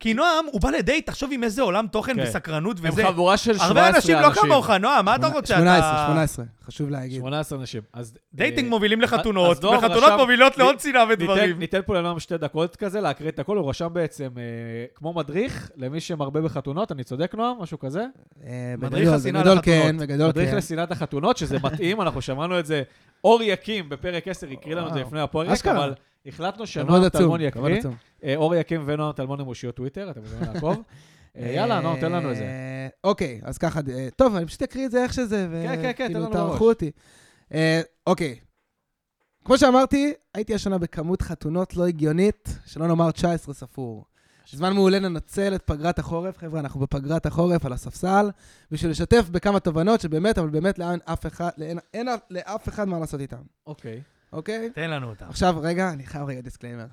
כי נועם, הוא בא לדייט, תחשוב עם איזה עולם תוכן כן. וסקרנות הם וזה. חבורה של 17 הרבה אנשים. אנשים לא כמוך, נועם, מה אתה רוצה? אתה- 18, 18, חשוב להגיד. 18 אנשים. אז, דייטינג אה, מובילים אז לחתונות, נועם וחתונות רשם- מובילות לעוד שנאה ניתן, ודברים. ניתן פה לנועם שתי דקות כזה להקריא את הכל, הוא רשם בעצם אה, כמו מדריך למי שמרבה בחתונות, אני צודק נועם, משהו כזה? אה, מדריך בגדול, חסינה בגדול לחתונות. כן, בגדול מדריך כן. לשנאת החתונות, שזה מתאים, אנחנו שמענו את זה. אור יקים בפרק 10 הקריא לנו את זה וואו. לפני הפרק, אשכרה. אבל החלטנו כבוד שנועם עצום, טלמון כבוד יקריא. עצום. אה, אור יקים ונועם טלמון הם אושיות טוויטר, אתם יכולים לעקוב. אה, יאללה, נועם, תן לנו את זה. אה, אוקיי, אז ככה, אה, טוב, אני פשוט אקריא את זה איך שזה, כן, כן, תן וכאילו לנו בראש. תערכו אותי. אה, אוקיי. כמו שאמרתי, הייתי השנה בכמות חתונות לא הגיונית, שלא נאמר 19 ספור. זמן מעולה לנצל את פגרת החורף. חבר'ה, אנחנו בפגרת החורף על הספסל, בשביל לשתף בכמה תובנות שבאמת, אבל באמת לאן אף אחד, לאין, אין אף- לאף אחד מה לעשות איתן, אוקיי. אוקיי? תן לנו אותם. עכשיו, רגע, אני חייב רגע דיסקליימר.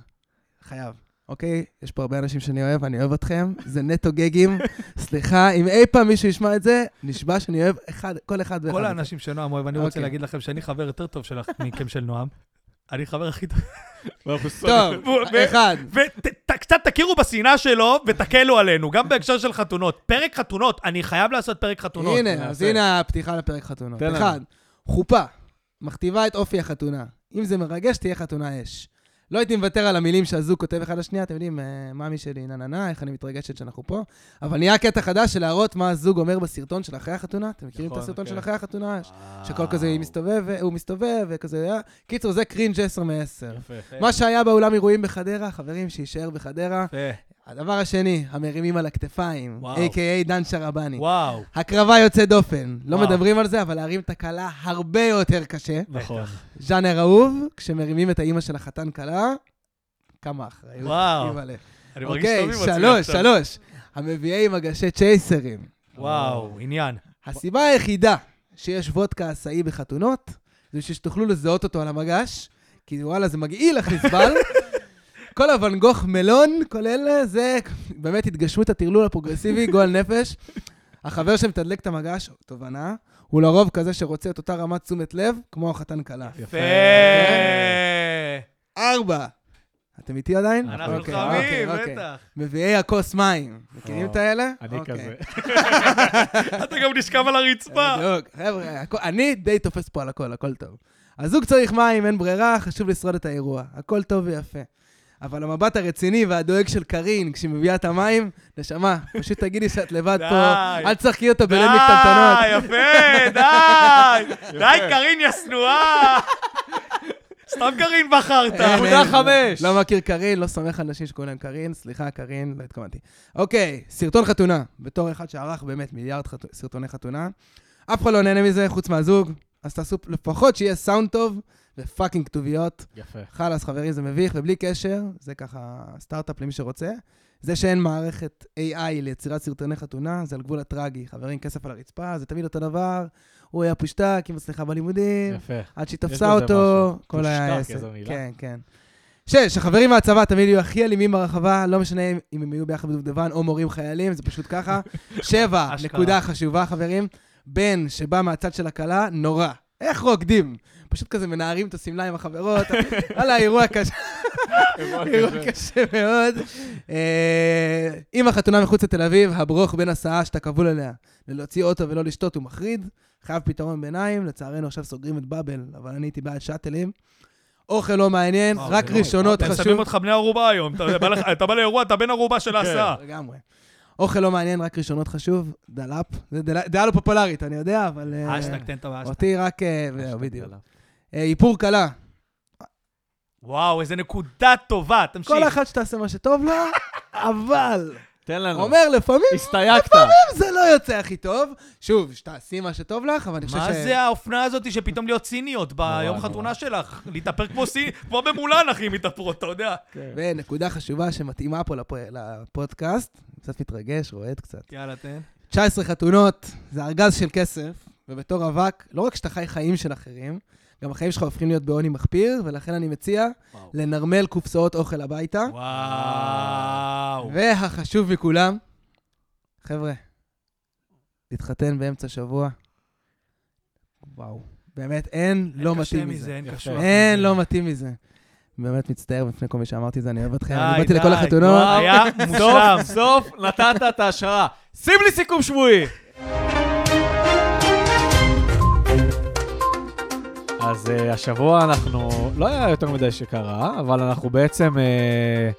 חייב. אוקיי, יש פה הרבה אנשים שאני אוהב, אני אוהב אתכם, זה נטו גגים. סליחה, אם אי פעם מישהו ישמע את זה, נשבע שאני אוהב אחד, כל אחד ואחד. כל האנשים שנועם אוהב, אני רוצה אוקיי. להגיד לכם שאני חבר יותר טוב שלך מכם של נועם. אני חבר הכי טוב. טוב, ו- אחד. וקצת תכירו בשנאה שלו ותקלו עלינו, גם בהקשר של חתונות. פרק חתונות, אני חייב לעשות פרק חתונות. נעשה. הנה, אז הנה הפתיחה לפרק חתונות. תן לנו. אחד, חופה, מכתיבה את אופי החתונה. אם זה מרגש, תהיה חתונה אש. לא הייתי מוותר על המילים שהזוג כותב אחד לשנייה, אתם יודעים, אה, מאמי שלי, נה נה נה, איך אני מתרגשת שאנחנו פה. אבל נהיה קטע חדש של להראות מה הזוג אומר בסרטון של אחרי החתונה. אתם מכירים את נכון, הסרטון כן. של אחרי החתונה? וואו. שכל כזה אה. היא מסתובב, הוא מסתובב, וכזה... אה. קיצור, זה קרינג' 10 מ-10. יפה. מה שהיה באולם אירועים בחדרה, חברים, שיישאר בחדרה. יפה. הדבר השני, המרימים על הכתפיים, וואו. a.k.a דן שרבני. וואו. הקרבה יוצאת דופן. לא וואו. מדברים על זה, אבל להרים את הכלה הרבה יותר קשה. נכון. ז'אנר אהוב, כשמרימים את האימא של החתן כלה, כמה אחריות. וואו. אימא'לה. אני מרגיש טוב אוקיי, עם עצמי שלוש, עכשיו. שלוש. המביאי מגשי צ'ייסרים. וואו, עניין. הסיבה היחידה שיש וודקה עשאי בחתונות, זה בשביל שתוכלו לזהות אותו על המגש, כי וואלה, זה מגעיל החיזבל. כל הוואן גוך מלון, כל אלה, זה באמת התגשמות הטרלול הפרוגרסיבי, גועל נפש. החבר שמתדלק את המגש, תובנה, הוא לרוב כזה שרוצה את אותה רמת תשומת לב, כמו החתן כלה. אוקיי. יפה. ארבע. אתם איתי עדיין? אה. אנחנו אוקיי, חמים, אוקיי, אוקיי. בטח. מביאי הכוס מים. מכירים את האלה? אני אוקיי. כזה. אתה גם נשכב על הרצפה. בדיוק. חבר'ה, הכל- אני די תופס פה על הכל, הכל טוב. הזוג צריך מים, אין ברירה, חשוב לשרוד את האירוע. הכל טוב ויפה. אבל המבט הרציני והדואג של קארין כשהיא מביאה את המים, נשמה, פשוט תגידי שאת לבד פה, די. אל תשחקי אותה די, בליל מקטנטנות. יפה, די. די, קארין, יא שנואה. סתם קארין בחרת. אין, נקודה אין, חמש. לא מכיר קארין, לא סומך על נשים שקוראים להם קארין. סליחה, קארין, לא התכוונתי. אוקיי, סרטון חתונה. בתור אחד שערך באמת מיליארד חת- סרטוני חתונה, אף אחד לא נהנה מזה חוץ מהזוג, אז תעשו לפחות שיהיה סאונד טוב ופאקינג כתוביות. יפה. חלאס, חברים, זה מביך, ובלי קשר, זה ככה סטארט-אפ למי שרוצה. זה שאין מערכת AI ליצירת סרטוני חתונה, זה על גבול הטרגי. חברים, כסף על הרצפה, זה תמיד אותו דבר. הוא היה פושטק, היא מצליחה בלימודים. יפה. עד שהיא יש תפסה בזה אותו, משהו. כל היה פושטק, עסק. איזו מילה. כן, כן. שש, החברים מהצבא תמיד יהיו הכי אלימים ברחבה, לא משנה אם- אם הם יהיו ביחד בדובדבן או מורים חיילים, זה פשוט ככה. שבע, אשכרה. נקודה חשובה, חברים. בן שבא מהצד של הכלה, נורא. איך רוקדים? פשוט כזה מנערים את השמלה עם החברות. וואלה, אירוע קשה, אוקיי, אירוע קשה מאוד. אה, אם החתונה מחוץ לתל אביב, הברוך בין הסעה שאתה כבול אליה. ללהוציא אוטו ולא לשתות הוא מחריד. חייב פתרון ביניים, לצערנו עכשיו סוגרים את באבל, אבל אני הייתי בעד שאטלים. אוכל לא מעניין, וואו, רק זה לא- ראשונות אה, הם שמים חשוב. אותך בני ערובה היום. אתה בא לך- אתה בא לאירוע, אתה בן ערובה של ההסעה. לגמרי. אוכל לא מעניין, רק ראשונות חשוב, דלאפ. זה דל- דעה לא פופולרית, אני יודע, אבל... אה, אשטג, תן את הבאשטג. אותי רק... אה, זהו, בדיוק. אה, איפור קלה. וואו, איזה נקודה טובה, תמשיך. כל אחת שתעשה מה שטוב לה, אבל... תן לנו. אומר לפעמים הסתייגת. זה לא יוצא הכי טוב. שוב, שתעשי מה שטוב לך, אבל אני חושב ש... מה זה האופנה הזאת שפתאום להיות ציניות ביום נורא, חתונה נורא. שלך? להתאפר כמו סינ... כמו במולן, אחי, מתאפרות, אתה יודע. ונקודה חשובה שמתאימה פה לפ... לפודקאסט, קצת מתרגש, רועד קצת. יאללה, תן. 19 חתונות, זה ארגז של כסף, ובתור רווק, לא רק שאתה חי חיים של אחרים, גם החיים שלך הופכים להיות בעוני מחפיר, ולכן אני מציע וואו. לנרמל קופסאות אוכל הביתה. אה? וואו. והחשוב מכולם, חבר'ה, להתחתן באמצע שבוע, וואו, באמת, אין, לא אין קשה מתאים מזה, אין יפה. קשור. אין, לא מתאים מזה. באמת מצטער בפני כל מי שאמרתי את זה, אני אוהב אתכם, אני די, באתי לכל די, לא, החתונות. אה, וואו, היה מושלם. סוף, סוף נתת את ההשערה. שים לי סיכום שבועי. אז אה, השבוע אנחנו, לא היה יותר מדי שקרה, אבל אנחנו בעצם אה,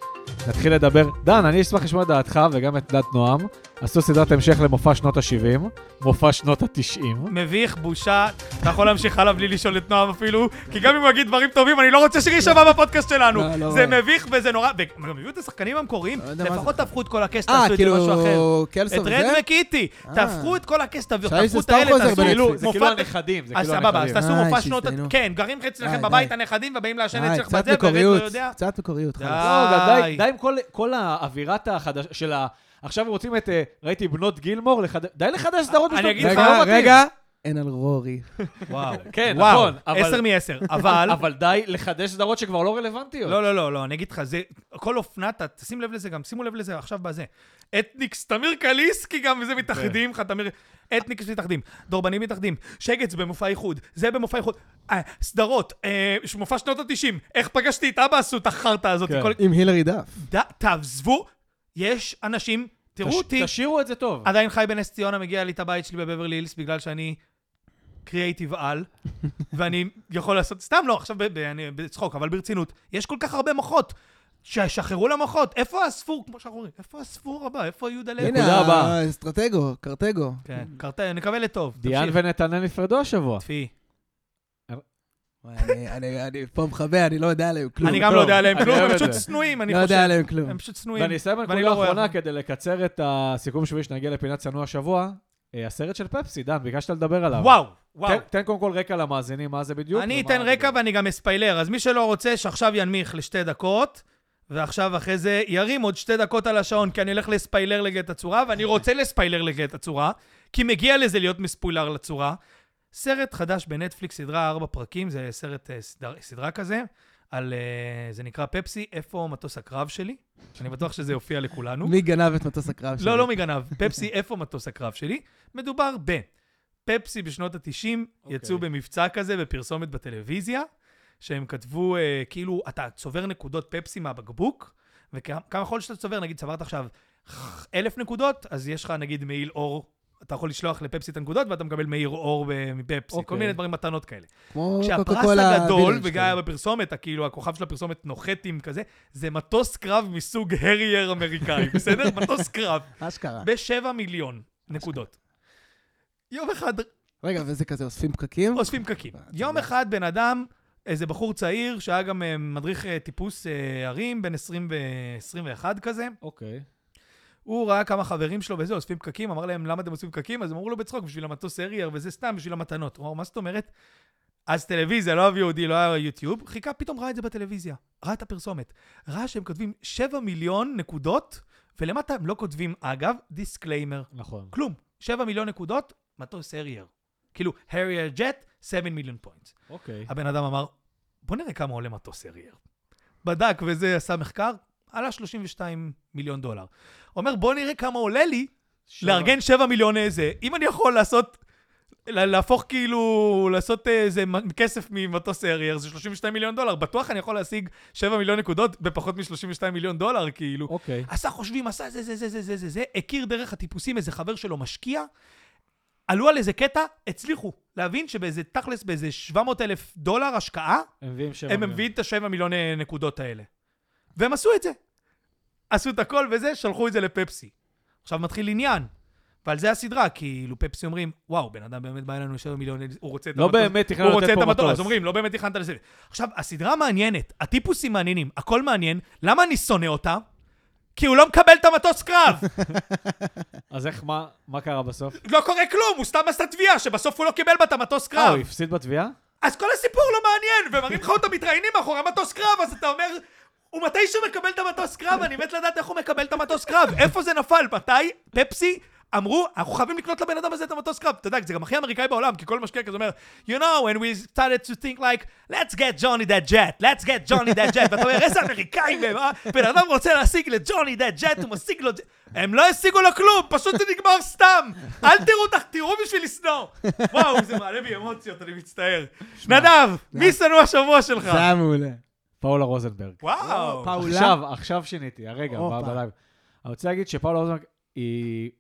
נתחיל לדבר. דן, אני אשמח לשמוע את דעתך וגם את דת נועם. עשו סדרת המשך למופע שנות ה-70, מופע שנות ה-90. מביך, בושה, אתה יכול להמשיך הלאה בלי לשאול את נועם אפילו, כי גם אם הוא יגיד דברים טובים, אני לא רוצה שיישמע בפודקאסט שלנו. לא, לא זה רואה. מביך וזה נורא, וגם הביאו את השחקנים המקוריים, לא יודע מה לפחות תהפכו את כל הקאסט, אה, תעשו את זה משהו אחר. כאילו, את קלסון רד וזה? וקיטי, אה. תהפכו את כל הקאסט, תהפכו שהיה לי זה את סתם חוזר האלה, תעשו בנטפליקס. זה כאילו מופע הנכדים, זה אז כאילו סבבה, אז הנכדים. תעשו איי, מופע שנות... ה- שהסתיינו. כן, גרים אצלכם די, בבית די. הנכדים ובאים לעשן די, אצלך אה, קצת בזה, ורד לא מקוריות, יודע. קצת מקוריות. די. חלאס. לא, גם די, די עם כל, כל האווירת החדש... של ה... עכשיו רוצים את, אה, ראיתי בנות גילמור, לחד... די לחדש סדרות אני בשנות- אגיד זה לך, לא רגע, מתאים. רגע, אין על רורי. וואו. כן, וואו, נכון, אבל- עשר מעשר. אבל... אבל די לחדש סדרות שכבר לא רלוונטיות. לא, לא, לא, לא, אני אגיד לך, זה... כל אופנה, ת- תשים לב לזה גם, שימו לב לזה עכשיו בזה. אתניקס, תמיר קליסקי גם, וזה מתאחדים לך, תמיר... אתניקס מתאחדים, דורבנים מתאחדים, שגץ במופע איחוד, זה במופע איחוד, אה, סדרות, אה, ש- מופע שנות ה-90, איך פגשתי את אבא עשו את החרטא הזאת, כן. כל... עם הילרי דף. ד- תעזבו, יש אנשים, תראו תש- אותי, תשאירו את זה טוב. עדיין חי בנס ציונה, מגיע לי את הבית שלי בבברלי הילס, בגלל שאני קריאייטיב על, ואני יכול לעשות, סתם לא, עכשיו ב- ב- אני בצחוק, אבל ברצינות, יש כל כך הרבה מוחות. ששחררו למוחות, איפה הספור, כמו שאנחנו אומרים, איפה הספור הבא, איפה יהודה לוי? הנה, נקודה הבאה. האסטרטגו, קרטגו. כן, קרתה, נקווה לטוב, דיאן תמשיך. ונתנאל נפרדו השבוע. טפי. וואי, אני- אני אני פה מכבה, אני לא יודע עליהם כלום. אני גם לא טוב, יודע עליהם אני כלום, אוהב הם את פשוט זה. שנואים, אני לא יודע חושב. עליהם כלום. הם פשוט שנואים. ואני אסיים ואני בנקודה לא רואה האחרונה אותם. כדי לקצר את הסיכום שלי שנגיע לפינת צנוע השבוע. אה, הסרט של פפסי, דן, ביקשת לדבר עליו. וואו, וואו. תן- תן קודם כל רקע למאזינים, מה זה בדיוק. אני ומה- אתן רקע ואני גם אספיילר. אז מי שלא רוצה, שעכשיו ינמיך לשתי דקות, ועכשיו אחרי זה ירים עוד שתי דקות על השעון, כי אני הולך לספיילר לגט הצורה, ואני רוצה לספיילר לגט הצורה, כי מגיע לזה להיות מספוילר לצורה. סרט חדש בנטפליקס, סדרה ארבע פרקים, זה סרט, אה, סדר, סדרה כזה, על, אה, זה נקרא פפסי, איפה מטוס הקרב שלי? אני בטוח שזה יופיע לכולנו. מי גנב את מטוס הקרב שלי? לא, לא מגנב, פפסי, איפה מטוס הקרב שלי? מדובר ב... פפסי בשנות ה-90 יצאו אוקיי. במבצע כזה בפרסומת בטלוויזיה, שהם כתבו, אה, כאילו, אתה צובר נקודות פפסי מהבקבוק, וכמה חול שאתה צובר, נגיד, צברת עכשיו אלף נקודות, אז יש לך, נגיד, מעיל אור. אתה יכול לשלוח לפפסי את הנקודות, ואתה מקבל מאיר אור ב- מפפסי, כל אוקיי. מיני דברים, מתנות כאלה. כמו כשהפרס קוקה-קולה הגדול, וילג' וגם היה בפרסומת, כאילו, הכוכב של הפרסומת נוחת עם כזה, זה מטוס קרב מסוג הרייר אמריקאי, בסדר? מטוס קרב, כזה. אשכרה. בשבע מיליון נקודות. יום אחד רגע, וזה כזה, אוספים פקקים? אוספים פקקים. אתה יום יודע. אחד בן אדם, איזה בחור צעיר, שהיה גם אה, מדריך אה, טיפוס אה, הרים, בן 20 ו-21 כזה, אוקיי. הוא ראה כמה חברים שלו וזה, אוספים פקקים, אמר להם, למה אתם אוספים פקקים? אז הם אמרו לו בצחוק, בשביל המטוס הרייר, וזה סתם, בשביל המתנות. הוא אמר, מה זאת אומרת? אז טלוויזיה, לא היה VOD, לא היה יוטיוב, חיכה, פתאום ראה את זה בטלוויזיה, ראה את הפרסומת. ראה שהם כותבים 7 מיליון נקודות, ולמטה הם לא כותבים, אגב, דיסקליימר. נכון. כלום. 7 מיליון נקודות, מטוס הרייר. כאילו, הרייר ג'ט, 7 מיליון פוינטס. אוקיי. הבן אדם אמר, בוא נראה כמה עולה מטוס הרייר. בדק וזה עשה מחקר, עלה 32 מיליון דולר. אומר, בוא נראה כמה עולה לי שבע. לארגן 7 מיליון איזה, אם אני יכול לעשות... לה- להפוך כאילו, לעשות איזה מ- כסף ממטוס הרייר, זה 32 מיליון דולר. בטוח אני יכול להשיג 7 מיליון נקודות בפחות מ-32 מיליון דולר, כאילו. אוקיי. עשה חושבים, עשה זה, זה, זה, זה, זה, זה, זה, הכיר דרך הטיפוסים איזה חבר שלו משקיע, עלו על איזה קטע, הצליחו להבין שבאיזה תכלס, באיזה 700 אלף דולר השקעה, הם מביאים שבע הם מיליון. מביאים את השבע מיליון אה, נקודות האלה. והם עשו את זה. עשו את הכל וזה, שלחו את זה לפפסי. עכשיו מתחיל עניין. ועל זה הסדרה, כאילו פפסי אומרים, וואו, בן אדם באמת בא אלינו 7 מיליון, הוא רוצה את לא המטוס- באמת תכננו הוא לתת רוצה את פה המטוס. מטוס. אז אומרים, לא באמת תכננת לזה. עכשיו, הסדרה מעניינת, הטיפוסים מעניינים, הכל מעניין, למה אני שונא אותה? כי הוא לא מקבל את המטוס קרב! אז איך, מה- מה קרה בסוף? לא קורה כלום, הוא סתם עשה תביעה, שבסוף הוא לא קיבל בה את המטוס אה, הוא קרב. הפסיד בתביעה? אז כל הסיפור לא מעניין, ומראים לך אותם מתראיינים מאחורי מטוס קרב, אז אתה אומר, הוא מתישהו מקבל את המטוס קרב, אני מת לדעת איך הוא מקבל את המטוס קרב, איפה זה נפל, מתי, פפסי, אמרו, אנחנו חייבים לקנות לבן אדם הזה את המטוס קרב. אתה יודע, זה גם הכי אמריקאי בעולם, כי כל משקיע כזה אומר, you know, and we started to think like, let's get Johnny that jet, let's get Johnny that jet, ואתה אומר, איזה אמריקאים הם, אה? בן אדם רוצה להשיג לג'וני that jet, הוא משיג לו... הם לא השיגו לו כלום, פשוט זה נגמר סתם. אל תראו אותך, תראו בשביל לשנוא. וואו, זה מעלה בי אמוציות, אני מצטער. נדב, מי שנוא השבוע שלך? זה היה מעולה. פאולה רוזנברג. וואו. פאולה. עכשיו, עכשיו שיניתי, הרגע, הופה. ב- בלייב. אני רוצה להגיד שפאולה רוזנברג היא...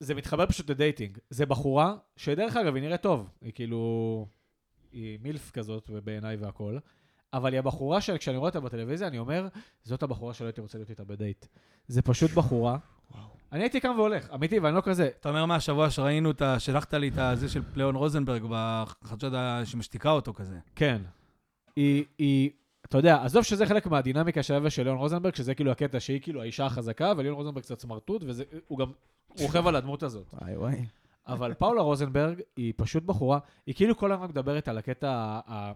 זה מתחבר פשוט לדייטינג. זה בחורה, שדרך אגב, היא נראית טוב. היא כאילו... היא מילף כזאת בעיניי והכול. אבל היא הבחורה שכשאני רואה אותה בטלוויזיה, אני אומר, זאת הבחורה שלא הייתי רוצה להיות איתה בדייט. זה פשוט בחורה. אני הייתי קם והולך, אמיתי, ואני לא כזה. אתה אומר מה, השבוע שראינו, את ה- שלחת לי את הזה של ליאון רוזנברג בחדשות ה- שמשתיקה אותו כזה. כן. היא, היא, אתה יודע, עזוב שזה חלק מהדינמיקה שלה ושל ליאון רוזנברג, שזה כאילו הקטע שהיא כאילו האישה החזקה, וליאון רוזנברג קצת סמרטוט, והוא גם רוכב על הדמות הזאת. וואי וואי. אבל פאולה רוזנברג היא פשוט בחורה, היא כאילו כל הזמן מדברת על הקטע ה... ה-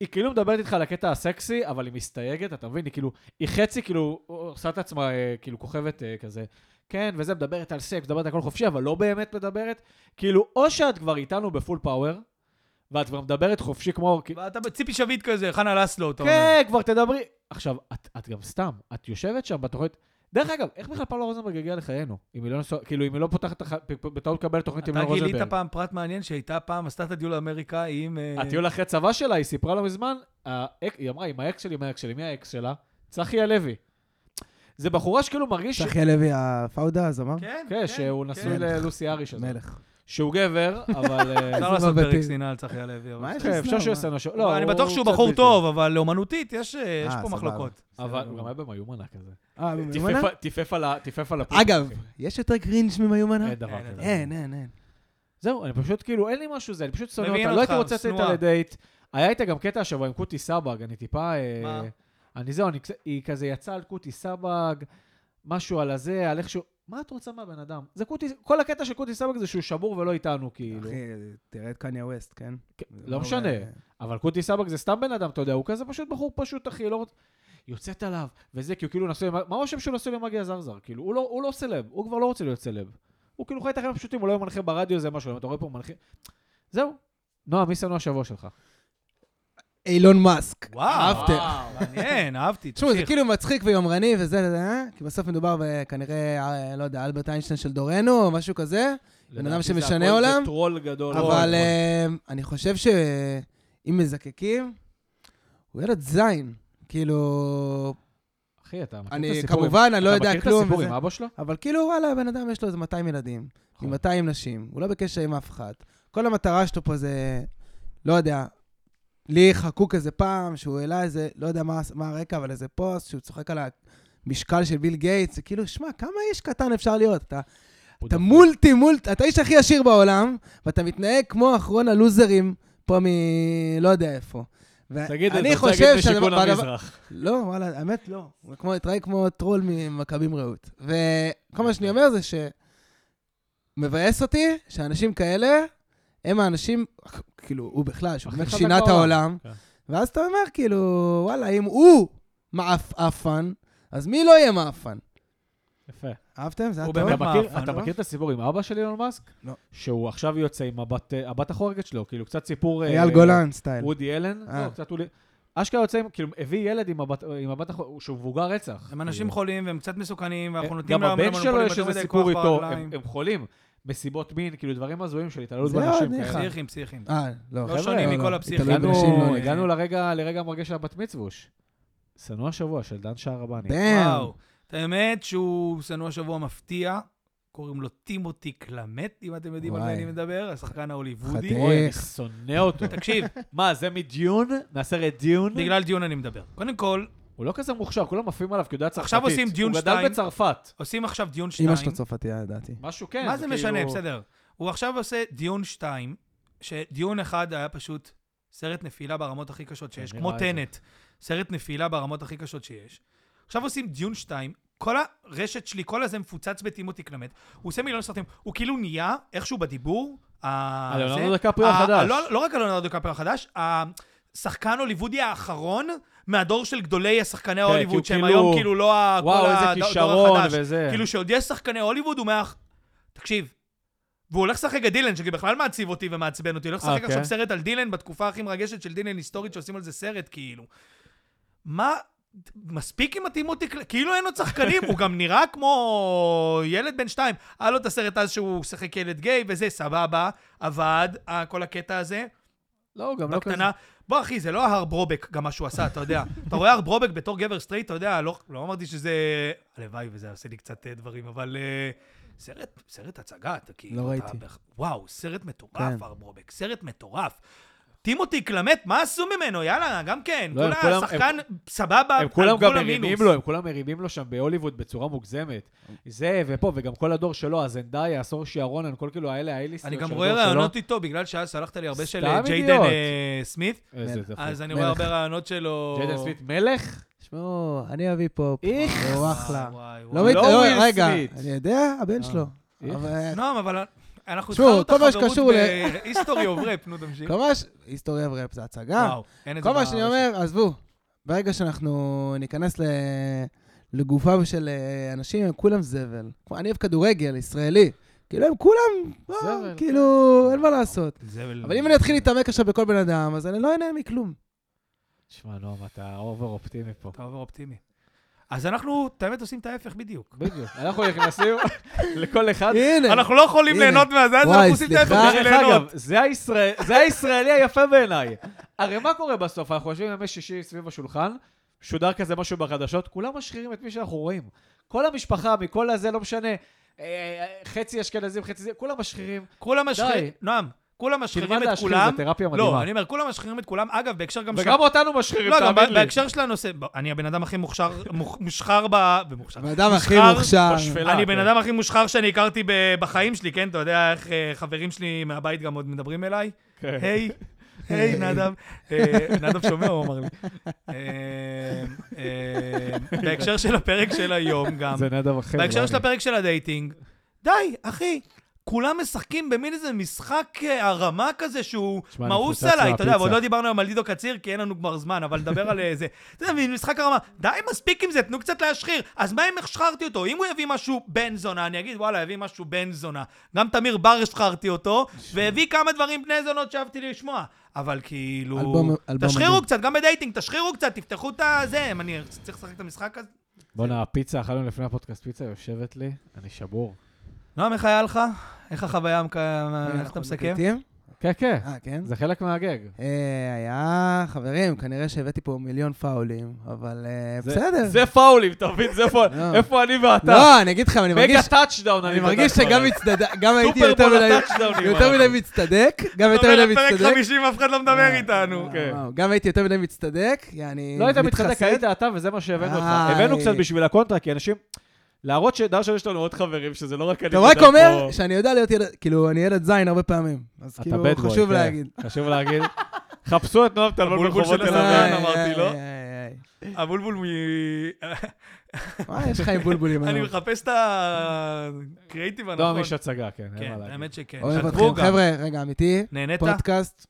היא כאילו מדברת איתך על הקטע הסקסי, אבל היא מסתייגת, אתה מבין? היא כאילו, היא חצי כאילו עושה את עצמה אה, כאילו כוכבת אה, כזה. כן, וזה, מדברת על סקס, מדברת על הכל חופשי, אבל לא באמת מדברת. כאילו, או שאת כבר איתנו בפול פאוור, ואת כבר מדברת חופשי כמו... כאילו, ואתה בציפי שביט כזה, חנה לסלו, אתה אומר. כן, כבר תדברי. עכשיו, את, את גם סתם, את יושבת שם בתוכנית... דרך אגב, איך בכלל פאולה רוזנברג הגיעה לחיינו? אם היא לא נשואה, כאילו, אם היא לא פותחת, את הח- פ- פ- בטעות מקבלת תוכנית עם אתה ליאון רוזנברג. גילית פעם פרט מעניין שהייתה פעם, עשתה את הדיול האמריקאי עם... אה, הטיול אחרי צבא שלה, היא סיפרה לא מזמן, האק- היא אמרה, עם האקס שלי, עם האקס שלי, מי האקס שלה? צחי הלוי. זה בחורה שכאילו מרגיש... צחי הלוי הפאודה, אז אמר? כן, כן, שהוא נשוי כן. ללוסי ארי שזה. מלך. שהוא גבר, אבל... אה, אפשר איזה לעשות מבטים. פרק שנאה על צחי הלוי. אבל מה יש בסדר. כן, אפשר שהוא יעשה נשו... לא, אני הוא- בטוח הוא שהוא קצת בחור בלתי. טוב, אבל אומנותית, יש אה, יש אה, פה סבבה. מחלוקות. אבל בסדר. הוא גם היה במיומנה כזה. אה, טיפף מיומנה? על- טיפף על ה... טיפף על הפודקאסט. אגב, יש יותר קרינג' ממיומנה? אין דבר אין, כזה. אין, אין, אין. זהו, אני פשוט כאילו, אין לי משהו זה, אני פשוט שונא מבין אותה. לא הייתי אותך, רוצה לצאת איתה שנואה. לדייט. היה איתה גם קטע השבוע עם קוטי סבג, אני טיפה... אה, מה? אני זהו, אני, קצ- היא כזה יצאה על קוטי סבג, משהו על הזה, על איכשהו... מה את רוצה מהבן אדם? זה קוטי... כל הקטע של קוטי סבג זה שהוא שמור ולא איתנו, כאילו. אחי, תראה את קניה ווסט, כן? כן, לא משנה. אבל קוטי סבג זה סתם בן אדם, אתה יודע, הוא כזה פשוט בחור פשוט, אחי, לא רוצה... יוצאת עליו, וזה, כי הוא כאילו נשוי... למ- מה הרושם שהוא נשוי למאגי הזרזר? כאילו, הוא לא, הוא לא סלב, הוא כבר לא רוצה להיות סלב. הוא כאילו חי את החיים הפשוטים, הוא לא יהיה מנחה ברדיו, זה משהו, אם אתה רואה פה מנחה... זהו. נועה, מי שנוא השבוע שלך? אילון מאסק. וואו. אהבתם. מעניין, אהבתי. תשמעו, זה תמשיך. כאילו מצחיק ויומרני וזה, זה, זה, כי בסוף מדובר בכנראה, אה, לא יודע, אלברט איינשטיין של דורנו או משהו כזה, בן אדם לדעתי זה שמשנה הכל- זה עולם, טרול גדול. אבל אה, אני חושב שאם מזקקים, הוא ילד זין. כאילו, אחי, אתה מכיר את אני הסיפור עם- כמובן, אני לא אתה יודע מכיר את כלום הסיפור וזה, עם אבא שלו? אבל כאילו, וואלה, הבן אדם יש לו איזה 200 ילדים, נכון. עם 200 נשים, הוא לא בקשר עם אף אחד. כל המטרה שלו פה זה, לא יודע, לי חקוק איזה פעם, שהוא העלה איזה, לא יודע מה, מה הרקע, אבל איזה פוסט, שהוא צוחק על המשקל של ביל גייטס, זה כאילו, שמע, כמה איש קטן אפשר להיות? אתה, הוא אתה דפוק. מולטי מולטי, אתה האיש הכי עשיר בעולם, ואתה מתנהג כמו אחרון הלוזרים פה מ... לא יודע איפה. תגיד, ואני אני רוצה חושב להגיד שהדבר- משיכון והדבר- המזרח. לא, וואלה, האמת לא. הוא כמו, התראי כמו טרול ממכבים רעות. וכל מה שאני אומר זה ש... מבאס אותי שאנשים כאלה, הם האנשים, כאילו, הוא בכלל, שהוא הכי באמת חזק שינה את בעולם. העולם. כן. ואז אתה אומר, כאילו, וואלה, אם הוא מעפעפן, אז מי לא יהיה מעפן? יפה. אהבתם? זה היה הוא טוב? אתה באמת מכיר- מעפן, אתה לא? מכיר את הסיפור עם אבא של אילון מאסק? לא. שהוא עכשיו יוצא עם הבת- הבת החורגת שלו, כאילו קצת סיפור... אה, אייל גולן סטייל. וודי אלן? אה. לא, קצת הוא... אשכרה יוצא עם, כאילו, הביא ילד עם הבת, עם הבת החורגת, שהוא מבוגר רצח. הם אנשים כאילו. חולים והם קצת מסוכנים, ואנחנו נותנים אה, גם להם הבן למונופולים שלו יש יותר איזה מדי סיפור כוח איתו, ברגליים. הם הם חולים. מסיבות מין, כאילו דברים הזויים של התעללות זה באנשים. עוד כאלה. אחד. פסיכים, פסיכים. אה, לא, לא שונים מכל הפסיכים. התעללות הגענו- בנשים, לא, הגענו לרגע לרגע המרגש של הבת מצווש. שנוא השבוע של דן שערבני. דאם. וואו. את האמת שהוא שנוא השבוע מפתיע, קוראים לו טימותי קלמט, אם אתם יודעים על מה וואי. אני מדבר, השחקן ההוליוודי. חתיך. אוי, אני איך. שונא אותו. תקשיב, מה, זה מדיון? מהסרט דיון? בגלל דיון אני מדבר. קודם כל, הוא לא כזה מוכשר, כולם עפים עליו כי הוא יודע צרפתית. עכשיו עושים דיון הוא גדל שתיים. בצרפת. עושים עכשיו דיון אמא שניים. שלו צרפתייה, לדעתי. משהו כן. מה זה משנה? כאילו- בסדר. הוא עכשיו עושה דיון שתיים, שדיון אחד היה פשוט סרט נפילה ברמות הכי קשות שיש, אני כמו ראה את כן, זה. טנט, סרט נפילה ברמות הכי קשות שיש. עכשיו עושים דיון שתיים, כל הרשת שלי, כל הזה מפוצץ בטימותי קלמט, הוא עושה מיליון סרטים, הוא כאילו נהיה איכשהו בדיבור, ה- הלאונרדו זה- דקפריו ה- החדש. לא, לא רק הלאונרדו דקפריו החדש, השחקן הוליוודי האחרון מהדור של גדולי השחקני כי ההוליווד, הוא שהם כאילו- היום כאילו לא ה- כל וואו, איזה הדור החדש. כישרון וזה. כאילו שעוד יש שחקני הוליווד, הוא מה... תקשיב, והוא הולך לשחק את דילן, שבכלל מעציב אותי ומעצבן אותי. הוא הולך אה, לשחק כן? עכשיו סרט על דילן בתקופה הכי מרגשת של דילן היסטורית, שעושים על זה סרט, כאילו. מה... מספיק עם הטימותי, קל- כאילו אין עוד שחקנים, הוא גם נראה כמו ילד בן שתיים. היה לו את הסרט אז שהוא שיחק ילד גיי, וזה, סבבה, עבד, אה, כל הקטע הזה. לא, הוא גם לא כזה. בקטנה. בוא, אחי, זה לא ההר ברובק, גם מה שהוא עשה, אתה יודע. אתה רואה הר ברובק בתור גבר סטרייט, אתה יודע, לא, לא אמרתי שזה... הלוואי וזה עושה לי קצת אה, דברים, אבל... אה, סרט, סרט הצגה, אתה כאילו... לא אתה ראיתי. בח- וואו, סרט מטורף, כן. הר ברובק, סרט מטורף. טימותי קלמט, מה עשו ממנו? יאללה, גם כן. לא, הם כולה כולם- שחקן סבבה, הם אה, על כולם גבול גם מרימים המינוס. לו, הם כולם מרימים לו שם בהוליווד בצורה מוגזמת. זה ופה, וגם כל הדור שלו, הזנדאיה, סורשי אהרונן, כל כאילו האלה, האייליסטים. אני גם של רואה הדור שלו. רעיונות איתו, בגלל שאז שלחת לי הרבה של סתם אה, ג'יידן אידיוט. אה, סמית, איזה אז דפוק. אז אני רואה מלך. הרבה רעיונות שלו. ג'יידן סמית מלך? תשמעו, אני אביא פופ. איך? הוא וואי, אחלה. וואי, לא וואי. מת... לא לא, וויל רגע, סמית. אה, אני יודע, הבן שלו. איך? אבל... נועם, אבל אנחנו תשמעו, התחלנו את כל מה החברות שקשור ל- בהיסטורי אוף ראפ, נו אה, תמשיך. כלומר, ש- היסטוריה וראפ זה הצגה. וואו, אין את זה כל מה בארץ. שאני אומר, עזבו, ברגע שאנחנו ניכנס ל... לגופם של אה, אנשים, הם כולם זבל. כמו- אני אוהב כדורגל, ישראלי. כאילו, הם כולם, אה, זבל, כן. כאילו, אין מה לעשות. זבל. אבל אם אני אתחיל להתעמק עכשיו בכל בן אדם, אז אני לא אהנה מכלום. תשמע, נועם, אתה אובר אופטימי פה. אתה עובר אופטימי. אז אנחנו, את האמת, עושים את ההפך בדיוק. בדיוק. אנחנו נכנסים לכל אחד. הנה. אנחנו לא יכולים הנה. ליהנות מהזה, אז וואי, אנחנו עושים את ההפך סליחה. בשביל דרך ליהנות. אגב, זה הישראל- זה הישראלי היפה בעיניי. הרי מה קורה בסוף? אנחנו יושבים ימי שישי סביב השולחן, שודר כזה משהו בחדשות, כולם משחירים את מי שאנחנו רואים. כל המשפחה, מכל הזה, לא משנה. אה, חצי אשכנזים, חצי זה, כולם משחירים. כולם משחירים, די. נועם, כולם משחירים תלמד את להשחיר, כולם. זה תרפיה לא, מדהימה. אני אומר, כולם משחירים את כולם. אגב, בהקשר גם של... וגם אותנו משחירים, לא, גם תאמין לי. בהקשר של הנושא, ב- אני הבן אדם הכי מוכשר, מוכ- מושחר ב... ומוכשר. הבן אדם הכי מושחר מוכשר. בשפלה. אני כן. בן אדם הכי מושחר שאני הכרתי ב- בחיים שלי, כן? אתה יודע איך אה, חברים שלי מהבית גם עוד מדברים אליי? כן. היי, היי, נדב. אה, נדב שומע, הוא אמר לי. אה, אה, בהקשר של הפרק של היום גם, זה נדב אחר. בהקשר לא של אני. הפרק של הדייטינג, די, אחי, כולם משחקים במין איזה משחק אה, הרמה כזה שהוא תשמע, אני מאוס מפוצץ עליי, אתה יודע, מהפיצה. ועוד לא דיברנו היום על לידו קציר, כי אין לנו כבר זמן, אבל נדבר על אה, זה. אתה יודע, מין משחק הרמה, די, מספיק עם זה, תנו קצת להשחיר. אז מה אם הכשרתי אותו? אם הוא יביא משהו בן זונה, אני אגיד, וואלה, הביא משהו בן זונה. גם תמיר בר השחרתי אותו, והביא כמה דברים בני זונות שאהבתי לשמוע. אבל כאילו... אלבום- אלבום תשחירו מדהים. קצת, גם בדייטינג, תשחירו קצת, תפתחו את הזה. אני צריך לשחק את המשחק הזה? בואנה, הפיצה, אכלנו לפני הפודקאסט פיצה, יושבת לי, אני שבור. נועם, איך היה לך? איך החוויה, המק- איך אתה אה, אנחנו מסכם? מקליטים? כן, כן, אה, כן? זה חלק מהגג. אה, היה, חברים, כנראה שהבאתי פה מיליון פאולים, אבל אה, זה- בסדר. זה פאולים, אתה מבין? זה פאולים. לא. איפה אני ואתה? לא, אני אגיד לך, אני מרגיש... מגה טאצ'דאון, אני אני מרגיש שגם הצטדק, גם הייתי סופר יותר בול מדי, הטאצ'דאונים יותר אנחנו. מדי מצטדק, גם יותר אתה מדי אומר, פרק מצטדק. אה, 50, אף אחד לא מדבר איתנו. כן. וואו, גם הייתי יותר מדי מצטדק, יעני... לא היית מתחזק, מתחסד. היית אתה, וזה מה שהבאנו אותך. איי. הבאנו קצת בשביל הקונטרה, כי אנשים... להראות שדר שלו יש לנו עוד חברים, שזה לא רק אני. אתה רק גדל אומר פה. שאני יודע להיות ילד, כאילו, אני ילד זין הרבה פעמים. אז אתה כאילו, בד בוי, חשוב כן. להגיד. חשוב להגיד. חפשו את נועם תלמוד הבולבול ברחובות של תל הזין. אביב. איי, אמרתי לא? לו. איי, איי, איי. כן. הבולבול מ... וואי, יש לך עם בולבולים. אני היום. מחפש את הקריאיטיב אה, נועם הנכון. איש הצגה, כן, אין מה נכון. כן, להגיד. האמת שכן. אוהב כתבו אתכם. גם. חבר'ה, רגע, אמיתי, נהנית? פודקאסט,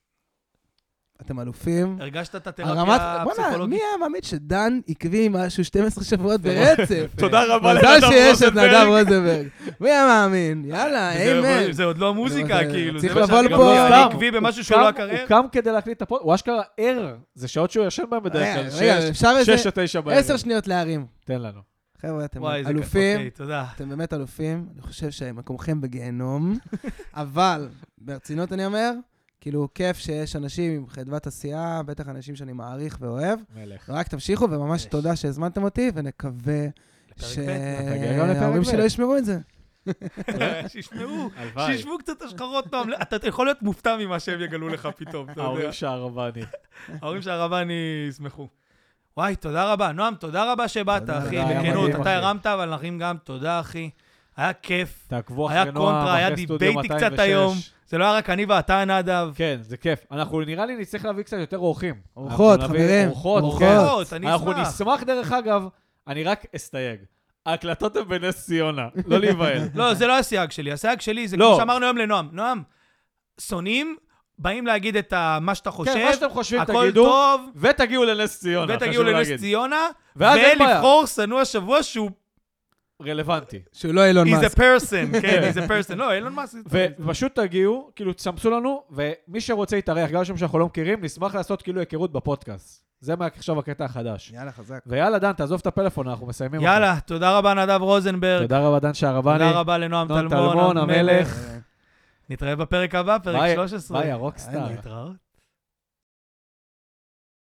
אתם אלופים. הרגשת את הרמת, התרפיה בוא'נה, מי הפסיכולוגית? היה מאמין שדן עקבי עם משהו 12 שבועות ברצף? תודה רבה מזל לנדב שיש את רוזנברג. נדב רוזנברג. מי היה מאמין? יאללה, זה- איימן. זה עוד לא המוזיקה, זה- כאילו. צריך זה מה לבוא שאני- לפה. גם אני סתם, עקבי הוא במשהו שהוא לא קם- הקריירה. הוא קם כדי להקליט את הפוד, הוא אשכרה ער, זה שעות שהוא ישן בהן בדרך אה, רגע, כלל, רגע, שש- אפשר איזה- שש או תשע בערב. 10 שניות להרים. תן לנו. חבר'ה, אתם וואי, זה אלופים, אוקיי, תודה. אתם באמת אלופים. אני חושב שמקומכם בגיהנום, אבל ברצינות אני אומר, כאילו, כיף שיש אנשים עם חדוות עשייה, בטח אנשים שאני מעריך ואוהב. מלך. רק תמשיכו, וממש יש. תודה שהזמנתם אותי, ונקווה לפרק ב'. תגיע גם לפרק שההורים ב'. שלי לא ישמעו את זה. שישמעו, הלוואי. שישמעו קצת השחרות פעם. אתה אתה יכול להיות מופתע ממה שהם יגלו לך פתאום, אתה יודע. ההורים שהרבני. ההורים של הרבני ישמחו. וואי, תודה רבה. נועם, תודה רבה שבאת, תודה, אחי. תודה, היה בכנות, מדהים, אתה אחי. הרמת, אבל אחים גם, תודה, אחי. היה כיף. תעקבו היה אחרי נועם, קונטרה, היה אחרי סטודיו דיבייטי 206. קצת היום. זה לא היה רק אני ואתה, נדב. כן, זה כיף. אנחנו נראה לי נצטרך להביא קצת יותר אורחים. אורחות, אנחנו נביא חברים, אורחות, אורחות. כן. אורחות, אני אנחנו אשמח. נשמח, דרך אגב, אני רק אסתייג. ההקלטות הן בנס ציונה, לא להיבהל. לא, זה לא הסייג שלי. הסייג שלי זה לא. כמו שאמרנו היום לנועם. נועם, שונאים, באים להגיד את ה- מה שאתה חושב. כן, מה שאתם חושבים, הכל תגידו, טוב, ותגיעו לנס ציונה. ותגיעו חשוב לנס להגיד. ציונה, ואז אין בעיה. ולבחור שנוא השבוע שהוא רלוונטי. שהוא לא אילון he's מאסק. a person, כן, he's a person. לא, אילון מאסק. ופשוט תגיעו, כאילו, תסמסו לנו, ומי שרוצה יתארח, גם שם שאנחנו לא מכירים, נשמח לעשות כאילו היכרות בפודקאסט. זה מה- עכשיו הקטע החדש. יאללה, חזק. ויאללה, דן, תעזוב את הפלאפון, אנחנו מסיימים. אותו. יאללה, תודה רבה נדב רוזנברג. תודה רבה, דן שערבני. תודה רבה לנועם נועם טלמון, טלמון, המלך. נתראה בפרק הבא, פרק ביי- 13. ביי, הרוקסטאר. להתראות.